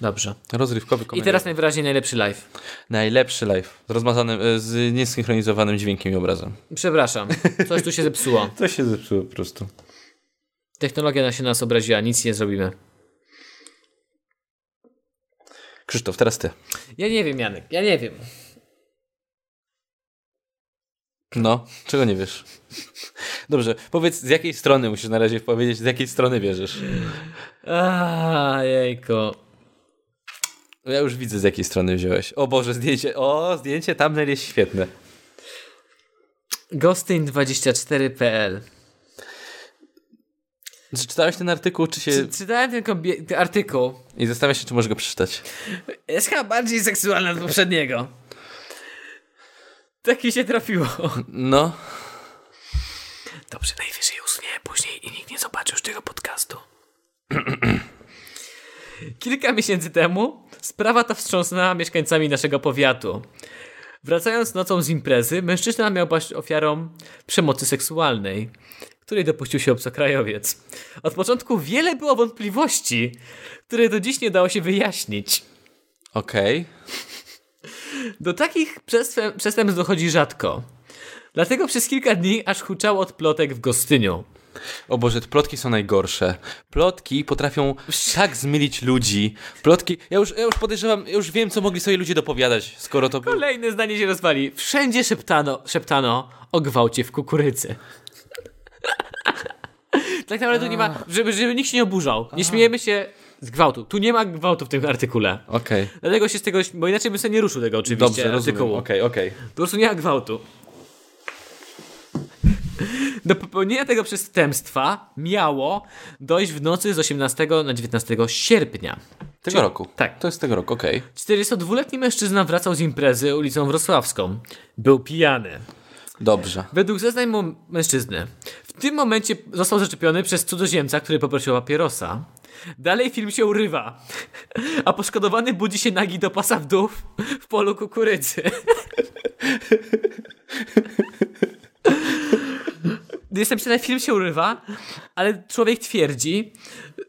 S2: Dobrze.
S1: Rozrywkowy,
S2: I
S1: komediowy.
S2: teraz najwyraźniej najlepszy live.
S1: najlepszy live z rozmazanym, e, z niesynchronizowanym dźwiękiem i obrazem.
S2: Przepraszam, coś tu się zepsuło.
S1: To się zepsuło po prostu.
S2: Technologia na się nas obraziła, nic nie zrobimy.
S1: Krzysztof, teraz ty.
S2: Ja nie wiem, Janek, ja nie wiem.
S1: No, czego nie wiesz? Dobrze, powiedz z jakiej strony musisz na razie powiedzieć, z jakiej strony wierzysz.
S2: Aaa, jejko.
S1: No Ja już widzę z jakiej strony wziąłeś. O Boże, zdjęcie. O, zdjęcie thumbnail jest świetne.
S2: Gostin24.pl
S1: Czy czytałeś ten artykuł, czy się.
S2: Czy- Czytałem ten kombie- ten artykuł.
S1: I zastanawiam się, czy możesz go przeczytać.
S2: Jest chyba bardziej seksualna od poprzedniego. Tak mi się trafiło.
S1: No.
S2: Dobrze, najwyżej usunię później i nikt nie zobaczy już tego podcastu. Kilka miesięcy temu sprawa ta wstrząsnęła mieszkańcami naszego powiatu. Wracając nocą z imprezy, mężczyzna miał paść ofiarą przemocy seksualnej, której dopuścił się obcokrajowiec. Od początku wiele było wątpliwości, które do dziś nie dało się wyjaśnić.
S1: Okej.
S2: Do takich przestęp- przestępstw dochodzi rzadko. Dlatego przez kilka dni aż huczało od plotek w Gostyniu.
S1: O Boże, te plotki są najgorsze. Plotki potrafią tak zmylić ludzi. Plotki. Ja już, ja już podejrzewam, ja już wiem, co mogli sobie ludzie dopowiadać, skoro to. Był...
S2: Kolejne zdanie się rozwali. Wszędzie szeptano, szeptano o gwałcie w kukurydzy. (laughs) tak naprawdę tu nie ma, żeby, żeby nikt się nie oburzał. Nie śmiejemy się z gwałtu. Tu nie ma gwałtu w tym artykule.
S1: Okej.
S2: Dlatego się z tego, bo inaczej bym sobie nie ruszył tego oczywiście
S1: Dobrze, rozumiem.
S2: artykułu.
S1: Okej, okej.
S2: Po prostu nie ma gwałtu. Do popełnienia tego przestępstwa miało dojść w nocy z 18 na 19 sierpnia.
S1: Tego
S2: Czy-
S1: roku.
S2: tak.
S1: To jest tego roku, okej.
S2: 42-letni mężczyzna wracał z imprezy ulicą Wrocławską. Był pijany.
S1: Dobrze.
S2: Według zeznań mu- mężczyzny, w tym momencie został zaczepiony przez cudzoziemca, który poprosił o papierosa. Dalej film się urywa, (laughs) a poszkodowany budzi się nagi do pasa w dół w polu kukurydzy. (laughs) Jest napisane, film się urywa, ale człowiek twierdzi,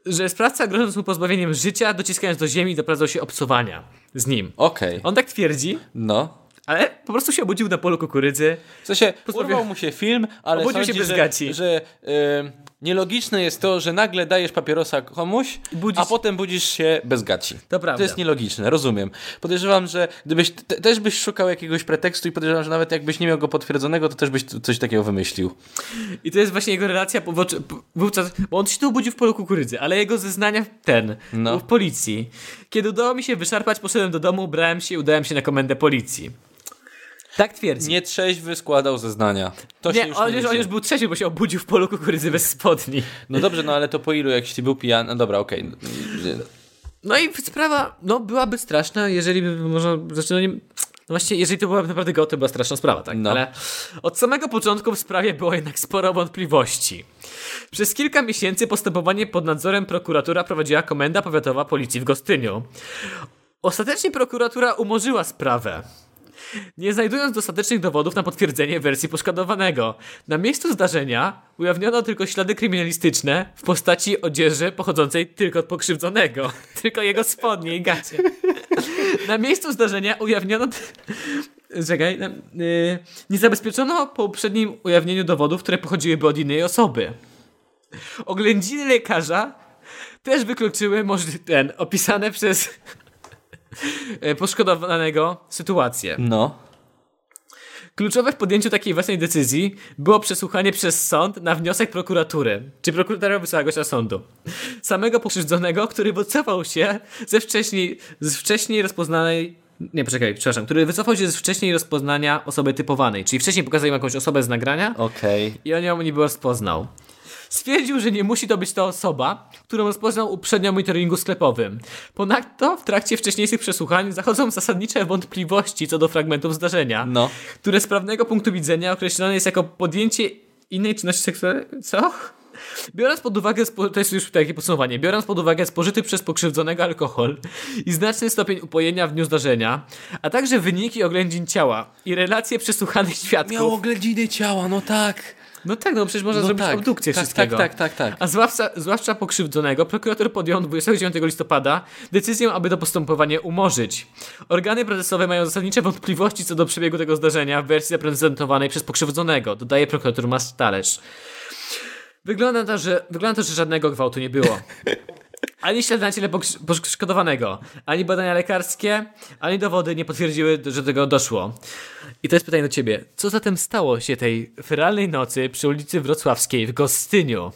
S2: że sprawca grożąc mu pozbawieniem życia, dociskając do ziemi, doprowadzał się obcowania z nim.
S1: Okej.
S2: On tak twierdzi,
S1: No.
S2: ale po prostu się obudził na polu kukurydzy.
S1: W sensie,
S2: Pozdrawiam.
S1: urwał mu się film, ale
S2: Obudził się
S1: sądzi,
S2: bez
S1: że,
S2: gaci.
S1: że y, nielogiczne jest to, że nagle dajesz papierosa komuś,
S2: Budzisz-
S1: a potem budzisz się bez gaci.
S2: To prawda.
S1: To jest nielogiczne, rozumiem. Podejrzewam, że gdybyś te, też byś szukał jakiegoś pretekstu i podejrzewam, że nawet jakbyś nie miał go potwierdzonego, to też byś t- coś takiego wymyślił.
S2: I to jest właśnie jego relacja, po- woczy- po- wówczas, bo on się tu obudził w polu kukurydzy, ale jego zeznania ten,
S1: No.
S2: był w policji. Kiedy udało mi się wyszarpać, poszedłem do domu, brałem się i udałem się na komendę policji. Tak twierdzi.
S1: Nietrzeźwy składał zeznania. To się
S2: nie,
S1: już
S2: on,
S1: nie
S2: już, on
S1: liczy.
S2: już był trzeci, bo się obudził w polu kukurydzy bez spodni.
S1: No dobrze, no ale to po ilu, jak jeśli był pijany... No dobra, okej.
S2: No i sprawa, no byłaby straszna, jeżeli by można, znaczy no nie, no właśnie, jeżeli to była naprawdę go, to była straszna sprawa, tak?
S1: No.
S2: Ale od samego początku w sprawie było jednak sporo wątpliwości. Przez kilka miesięcy postępowanie pod nadzorem prokuratura prowadziła Komenda Powiatowa Policji w Gostyniu. Ostatecznie prokuratura umorzyła sprawę. Nie znajdując dostatecznych dowodów na potwierdzenie wersji poszkodowanego, na miejscu zdarzenia ujawniono tylko ślady kryminalistyczne w postaci odzieży pochodzącej tylko od pokrzywdzonego, (laughs) tylko jego spodnie i gacie. Na miejscu zdarzenia ujawniono. t- Czekaj. na- y, nie zabezpieczono po uprzednim ujawnieniu dowodów, które pochodziłyby od innej osoby. Oględziny lekarza też wykluczyły możli- ten opisane przez (laughs) y, poszkodowanego sytuację.
S1: No.
S2: Kluczowe w podjęciu takiej własnej decyzji było przesłuchanie przez sąd na wniosek prokuratury, czy prokuratora wysłała gościa sądu. Samego pokrzywdzonego, który wycofał się ze wcześniej, z wcześniej rozpoznanej. Nie, poczekaj, przepraszam, który wycofał się z wcześniej rozpoznania osoby typowanej, czyli wcześniej pokazał im jakąś osobę z nagrania
S1: Okej.
S2: i on ją niby rozpoznał. Stwierdził, że nie musi to być ta osoba, którą rozpoznał uprzednio w monitoringu sklepowym. Ponadto w trakcie wcześniejszych przesłuchań zachodzą zasadnicze wątpliwości co do fragmentów zdarzenia
S1: No.
S2: które z prawnego punktu widzenia określone jest jako podjęcie innej czynności seksualnej. Co? Biorąc pod uwagę, spo... to jest już takie podsumowanie, biorąc pod uwagę spożyty przez pokrzywdzonego alkohol i znaczny stopień upojenia w dniu zdarzenia, a także wyniki oględzin ciała i relacje przesłuchanych świadków.
S1: Miał oględziny ciała, no tak.
S2: No tak, no przecież można
S1: No
S2: zrobić
S1: tak,
S2: obdukcję
S1: tak,
S2: wszystkiego.
S1: tak, tak, tak, tak.
S2: A zwłaszcza, zwłaszcza pokrzywdzonego, prokurator podjął 29 listopada decyzję, aby to postępowanie umorzyć. Organy procesowe mają zasadnicze wątpliwości co do przebiegu tego zdarzenia w wersji zaprezentowanej przez pokrzywdzonego, dodaje prokurator Mastalerz. Wygląda to, że, wygląda to, że żadnego gwałtu nie było. Ani ślady na ciele pokrzy- poszkodowanego, ani badania lekarskie, ani dowody nie potwierdziły, że do tego doszło. I to jest pytanie do ciebie. Co zatem stało się tej feralnej nocy przy ulicy Wrocławskiej w Gostyniu?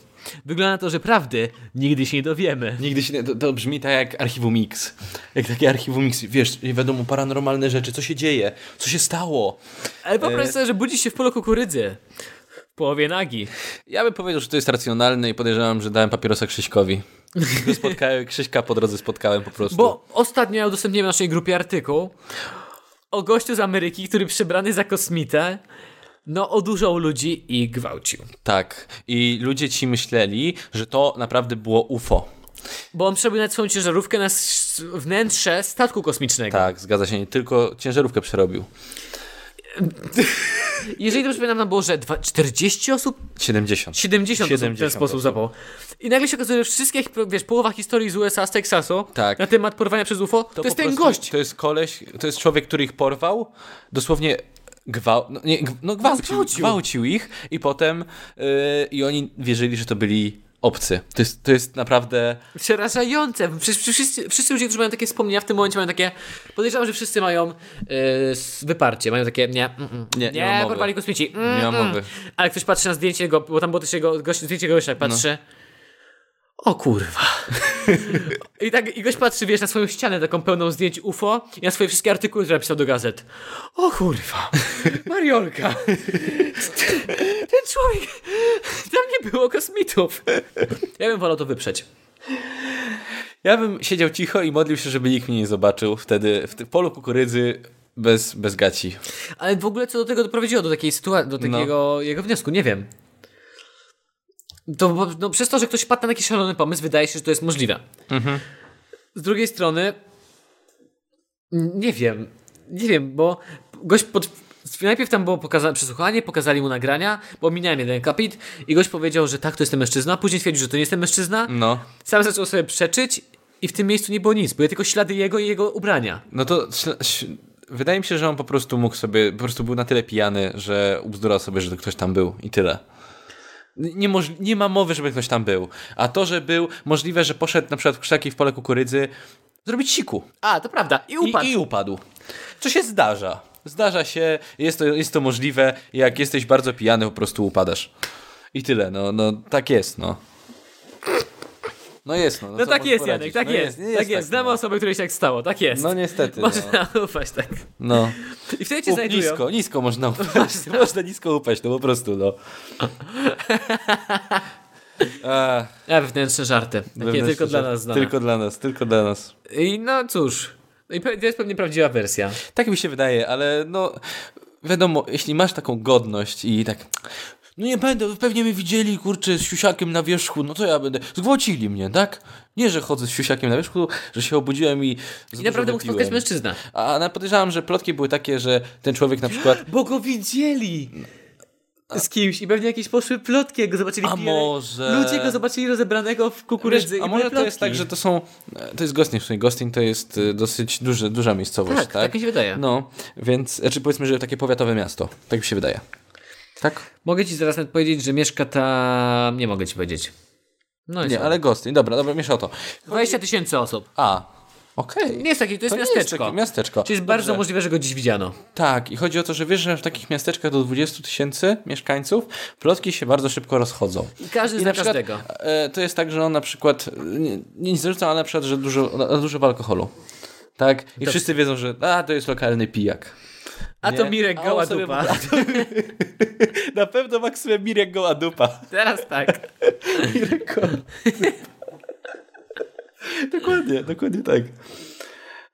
S2: Wygląda na to, że prawdy nigdy się nie dowiemy.
S1: Nigdy się nie, to, to brzmi tak jak archiwum Mix. Jak takie archiwum Mix, wiesz, i wiadomo, paranormalne rzeczy, co się dzieje, co się stało.
S2: Ale popatrz sobie, że budzi się w polu kukurydzy. W połowie nagi.
S1: Ja bym powiedział, że to jest racjonalne i podejrzewam, że dałem papierosa Krzyśkowi. Go Spotkałem, (laughs) Krzyśka po drodze spotkałem po prostu.
S2: Bo ostatnio udostępniłem w naszej grupie artykuł o gościu z Ameryki, który przebrany za kosmitę no odurzał ludzi i gwałcił.
S1: Tak. I ludzie ci myśleli, że to naprawdę było UFO.
S2: Bo on przebył nawet swoją ciężarówkę na s- wnętrze statku kosmicznego.
S1: Tak, zgadza się, nie tylko ciężarówkę przerobił.
S2: Jeżeli dobrze pamiętam, tam było, że dwa- 40 osób
S1: 70.
S2: 70, osób w ten
S1: 70
S2: sposób
S1: osób.
S2: zapał. I nagle się okazuje, że wszystkich, wiesz, połowa historii z USA, z Teksasu,
S1: Tak.
S2: na temat porwania przez UFO, to,
S1: po
S2: jest ten
S1: prostu-
S2: gość.
S1: To jest koleś, to jest człowiek, który ich porwał, dosłownie gwałt, no, nie, gw- no gwałcił,
S2: Gwałcił.
S1: gwałcił ich i potem yy, i oni wierzyli, że to byli obcy. To jest, to jest naprawdę,
S2: Przerażające. Przecież przecież wszyscy, wszyscy ludzie, którzy mają takie wspomnienia, w tym momencie mają takie. Podejrzewam, że wszyscy mają yy, s- wyparcie. Mają takie. Nie, mm, mm,
S1: Nie,
S2: nie,
S1: nie ma mowy.
S2: porwali kosmici. Mm,
S1: nie mam
S2: mm.
S1: mowy.
S2: Ale ktoś patrzy na zdjęcie jego, bo tam było też jego gość, zdjęcie gościa, jak patrzy. No. O kurwa. I tak i gość patrzy, wiesz, na swoją ścianę taką pełną zdjęć UFO i na swoje wszystkie artykuły, które napisał do gazet. O kurwa. Mariolka. Ten człowiek. Tam nie było kosmitów. Ja bym wolał to wyprzeć.
S1: Ja bym siedział cicho i modlił się, żeby nikt mnie nie zobaczył wtedy w tym polu kukurydzy bez, bez gaci.
S2: Ale w ogóle co do tego doprowadziło, do takiej sytuacji, do takiego jego wniosku, nie wiem. To, bo- no, przez to, że ktoś padł na taki szalony pomysł, wydaje się, że to jest możliwe. Mhm. Z drugiej strony, n- nie wiem, nie wiem, bo gość pod... Najpierw tam było pokazane przesłuchanie, pokazali mu nagrania, bo minąłem jeden kapit i gość powiedział, że tak, to jest ten mężczyzna, później stwierdził, że to nie jest ten mężczyzna.
S1: No,
S2: Sam zaczął sobie przeczyć i w tym miejscu nie było nic, były tylko ślady jego i jego ubrania.
S1: no to śl- ś- wydaje mi się, że on po prostu mógł sobie, po prostu był na tyle pijany, że ubzdurał sobie, że ktoś tam był i tyle. Nie, moż, nie ma mowy, żeby ktoś tam był. A to, że był, możliwe, że poszedł na przykład w krzaki w pole kukurydzy zrobić siku
S2: A, to prawda, i upadł.
S1: I, i upadł. Co się zdarza? Zdarza się, jest to, jest to możliwe, jak jesteś bardzo pijany, po prostu upadasz. I tyle, no, no tak jest, no. No jest, no.
S2: No,
S1: co
S2: tak
S1: możesz
S2: jest,
S1: poradzić?
S2: Janek, tak
S1: no
S2: jest.
S1: nie
S2: tak jest. Znamy
S1: no.
S2: osobę, której się tak stało, tak jest.
S1: No niestety. No.
S2: Można (laughs) ufać tak.
S1: no.
S2: I wtedy cię
S1: Up,
S2: znajdują.
S1: nisko, nisko
S2: (laughs)
S1: można upaść. można nisko upaść, no po prostu, no. A,
S2: A, wewnętrzne żarty. Takie
S1: wewnętrzne
S2: tylko dla
S1: żart.
S2: nas znane.
S1: Tylko dla nas, tylko dla nas.
S2: I no cóż. No i pe- to jest pewnie prawdziwa wersja.
S1: Tak mi się wydaje, ale no wiadomo, jeśli masz taką godność i tak no nie będę, pewnie mnie widzieli, kurczę, z siusiakiem na wierzchu, no to ja będę. Zgwałcili mnie, tak? Nie, że chodzę z siusiakiem na wierzchu, że się obudziłem i
S2: I naprawdę mógł spotkać mężczyzna.
S1: A na- podejrzewam, że plotki były takie, że ten człowiek na przykład
S2: Bo go widzieli z kimś i pewnie jakieś poszły plotki, jak go zobaczyli
S1: A
S2: pijany-
S1: może-
S2: Ludzie go zobaczyli rozebranego w kukurydzy
S1: Wiesz,
S2: i
S1: A
S2: były
S1: może to
S2: plotki.
S1: jest tak, że to są. To jest Gostin, w sumie Gostin to jest y, dosyć duży, duża miejscowość,
S2: Tak,
S1: tak?
S2: tak mi się wydaje.
S1: No, więc. Znaczy powiedzmy, że takie powiatowe miasto. Tak mi się wydaje. Tak?
S2: Mogę ci zaraz nawet powiedzieć, że mieszka ta... Nie mogę ci powiedzieć. No i
S1: Nie,
S2: co?
S1: ale Gostin, dobra, dobra, miesza o to.
S2: 20 tysięcy osób.
S1: A, okej.
S2: Nie jest taki, to jest
S1: To nie jest
S2: miasteczko.
S1: takie miasteczko.
S2: Czyli jest
S1: Dobrze.
S2: bardzo możliwe, że go dziś widziano.
S1: Tak, i chodzi o to, że wiesz, że w takich miasteczkach do 20 tysięcy mieszkańców plotki się bardzo szybko rozchodzą.
S2: I każdy
S1: na
S2: zna
S1: przykład,
S2: każdego.
S1: e, To jest tak, że on na przykład e, nie, nie zarzuca, ale na przykład, że dużo, na- dużo w alkoholu. Tak? I wszyscy wiedzą, że a, to jest lokalny pijak.
S2: A to
S1: Nie.
S2: Mirek
S1: A on
S2: goła
S1: sobie
S2: dupa.
S1: po
S2: (laughs)
S1: Na pewno maksymem Mirek goła dupa.
S2: Teraz tak.
S1: (laughs) Dokładnie, dokładnie tak.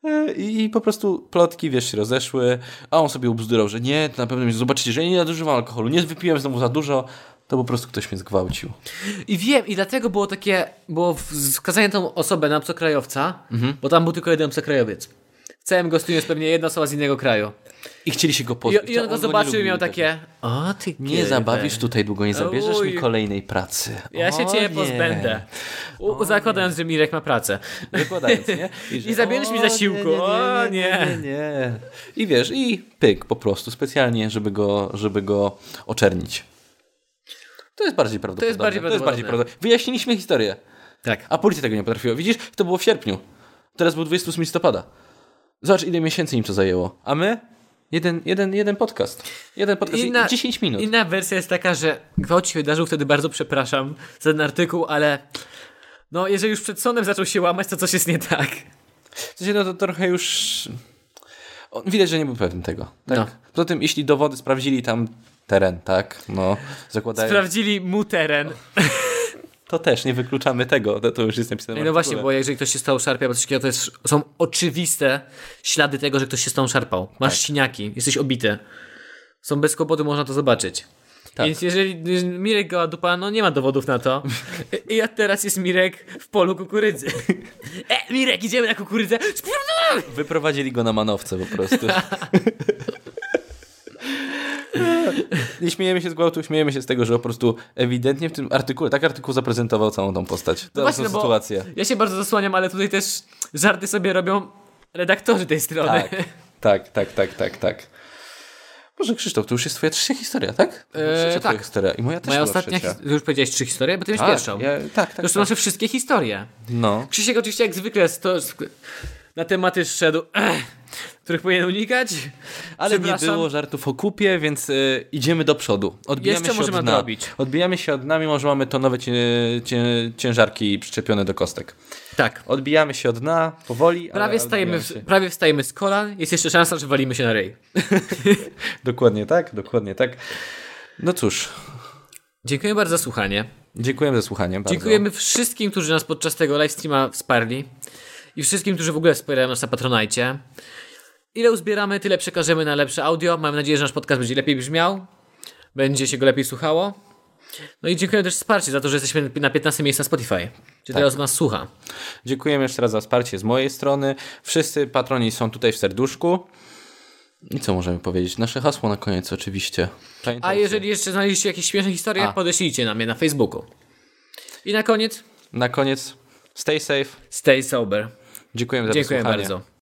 S1: E, I, I po prostu plotki, wiesz, się rozeszły, a on sobie ubzdurał, że nie, to na pewno mnie zobaczycie, że ja nie nadużywam alkoholu, nie wypiłem znowu za dużo, to po prostu ktoś mnie zgwałcił.
S2: I wiem, i dlatego było takie, było w- wskazanie tą osobę na obcokrajowca, bo tam był tylko jeden obcokrajowiec. W całym gościu jest pewnie jedna osoba z innego kraju.
S1: I chcieli się go
S2: I,
S1: pozbyć.
S2: i on
S1: a
S2: go
S1: nie
S2: zobaczył i
S1: lubił
S2: miał
S1: tego.
S2: takie, o ty
S1: Nie zabawisz tutaj długo, nie zabierzesz mi
S2: Uj.
S1: kolejnej pracy.
S2: Ja się
S1: O nie.
S2: ciebie pozbędę. U, zakładając, że Mirek ma pracę.
S1: Wykładając, nie? że,
S2: I zabierzesz mi
S1: o,
S2: zasiłku. O,
S1: nie, nie, nie. I wiesz, i pyk po prostu, specjalnie, żeby go, żeby go oczernić. To jest bardziej prawdopodobne.
S2: bardziej prawdopodobne.
S1: prawdopodobne. Wyjaśniliśmy historię,
S2: Tak.
S1: a policja tego nie potrafiła. Widzisz, to było w sierpniu. Teraz był 28 listopada. Zobacz, ile miesięcy im to zajęło. A my? Jeden, jeden, jeden podcast. Jeden podcast i,
S2: Inna-
S1: 10 minut.
S2: Inna wersja jest taka, że gwałt się wydarzył, wtedy bardzo przepraszam za ten artykuł, ale no jeżeli już przed sądem zaczął się łamać, to coś jest nie tak.
S1: W sensie, no to trochę już... On- Widać, że nie był pewny tego. Tak?
S2: No.
S1: Poza tym, jeśli dowody sprawdzili tam teren, tak? No, zakładają...
S2: Sprawdzili mu teren.
S1: To też, nie wykluczamy tego, to, to już jest napisane. w
S2: No właśnie, bo
S1: artykule.
S2: jeżeli ktoś się z tobą szarpie, albo coś takiego, to jest, są oczywiste ślady tego, że ktoś się z tobą szarpał. Masz
S1: Tak.
S2: siniaki, jesteś obity. Są bez kłopotu, można to zobaczyć.
S1: Tak.
S2: Więc jeżeli jeżeli Mirek Goładupa, no nie ma dowodów
S1: (laughs)
S2: na to. I ja teraz jest Mirek w polu kukurydzy. (laughs) E, Mirek, idziemy na kukurydzę. Spierdolamy!
S1: Wyprowadzili go na manowce po
S2: (laughs)
S1: prostu. Nie śmiejemy się z gwałtu, śmiejemy się z tego, że po prostu ewidentnie w tym artykule, tak artykuł zaprezentował całą tą postać. Całą
S2: właśnie,
S1: tą
S2: no bo
S1: sytuację.
S2: Ja się bardzo zasłaniam, ale tutaj też żarty sobie robią redaktorzy tej strony. (laughs)
S1: Tak, tak, tak, tak, tak, tak. Boże Krzysztof, to już jest twoja trzecia historia, tak?
S2: Eee,
S1: trzecia twoja
S2: tak.
S1: historia. I moja też
S2: Moja
S1: była
S2: ostatnia,
S1: trzecia.
S2: his- już powiedziałeś trzy historie, bo ty miałeś
S1: Tak,
S2: pierwszą.
S1: ja- tak, tak.
S2: to już to
S1: tak.
S2: nasze wszystkie historie.
S1: No.
S2: Krzysiek oczywiście jak zwykle sto, na tematy szedł, (clears throat) których powinien unikać.
S1: Ale nie
S2: Przepraszam.
S1: było żartów o kupie, więc y, idziemy do przodu. Odbijamy
S2: Jeszcze
S1: się
S2: możemy
S1: od dna.
S2: nadrobić.
S1: Odbijamy się od dna, mimo że mamy tonowe cie, cie, ciężarki przyczepione do kostek.
S2: Tak.
S1: Odbijamy się od dna, powoli.
S2: Prawie
S1: ale
S2: wstajemy,
S1: odbijamy
S2: w, prawie wstajemy z kolan, jest jeszcze szansa, że walimy się
S1: (laughs)
S2: na rej.
S1: się. Dokładnie tak, dokładnie tak. No cóż,
S2: Dziękuję bardzo za słuchanie.
S1: dziękujemy za słuchanie. Bardzo.
S2: Dziękujemy wszystkim, którzy nas podczas tego livestreama wsparli i wszystkim, którzy w ogóle wspierają nas na Patronajcie. Ile uzbieramy, tyle przekażemy na lepsze audio. Mam nadzieję, że nasz podcast będzie lepiej brzmiał, będzie się go lepiej słuchało. No i dziękuję też wsparcie za to, że jesteśmy na 15 miejscu na Spotify.
S1: Tak.
S2: Czy teraz nas słucha?
S1: Dziękujemy jeszcze raz za wsparcie z mojej strony. Wszyscy patroni są tutaj w serduszku. I co możemy powiedzieć? Nasze hasło na koniec oczywiście.
S2: A
S1: Pamiętajcie.
S2: jeżeli jeszcze znaleźliście jakieś śmieszne historie,
S1: A.
S2: podeślijcie nam je na Facebooku. I na koniec,
S1: Na koniec, stay safe.
S2: stay sober.
S1: Dziękujemy za
S2: Dziękuję
S1: wysłuchanie.
S2: bardzo.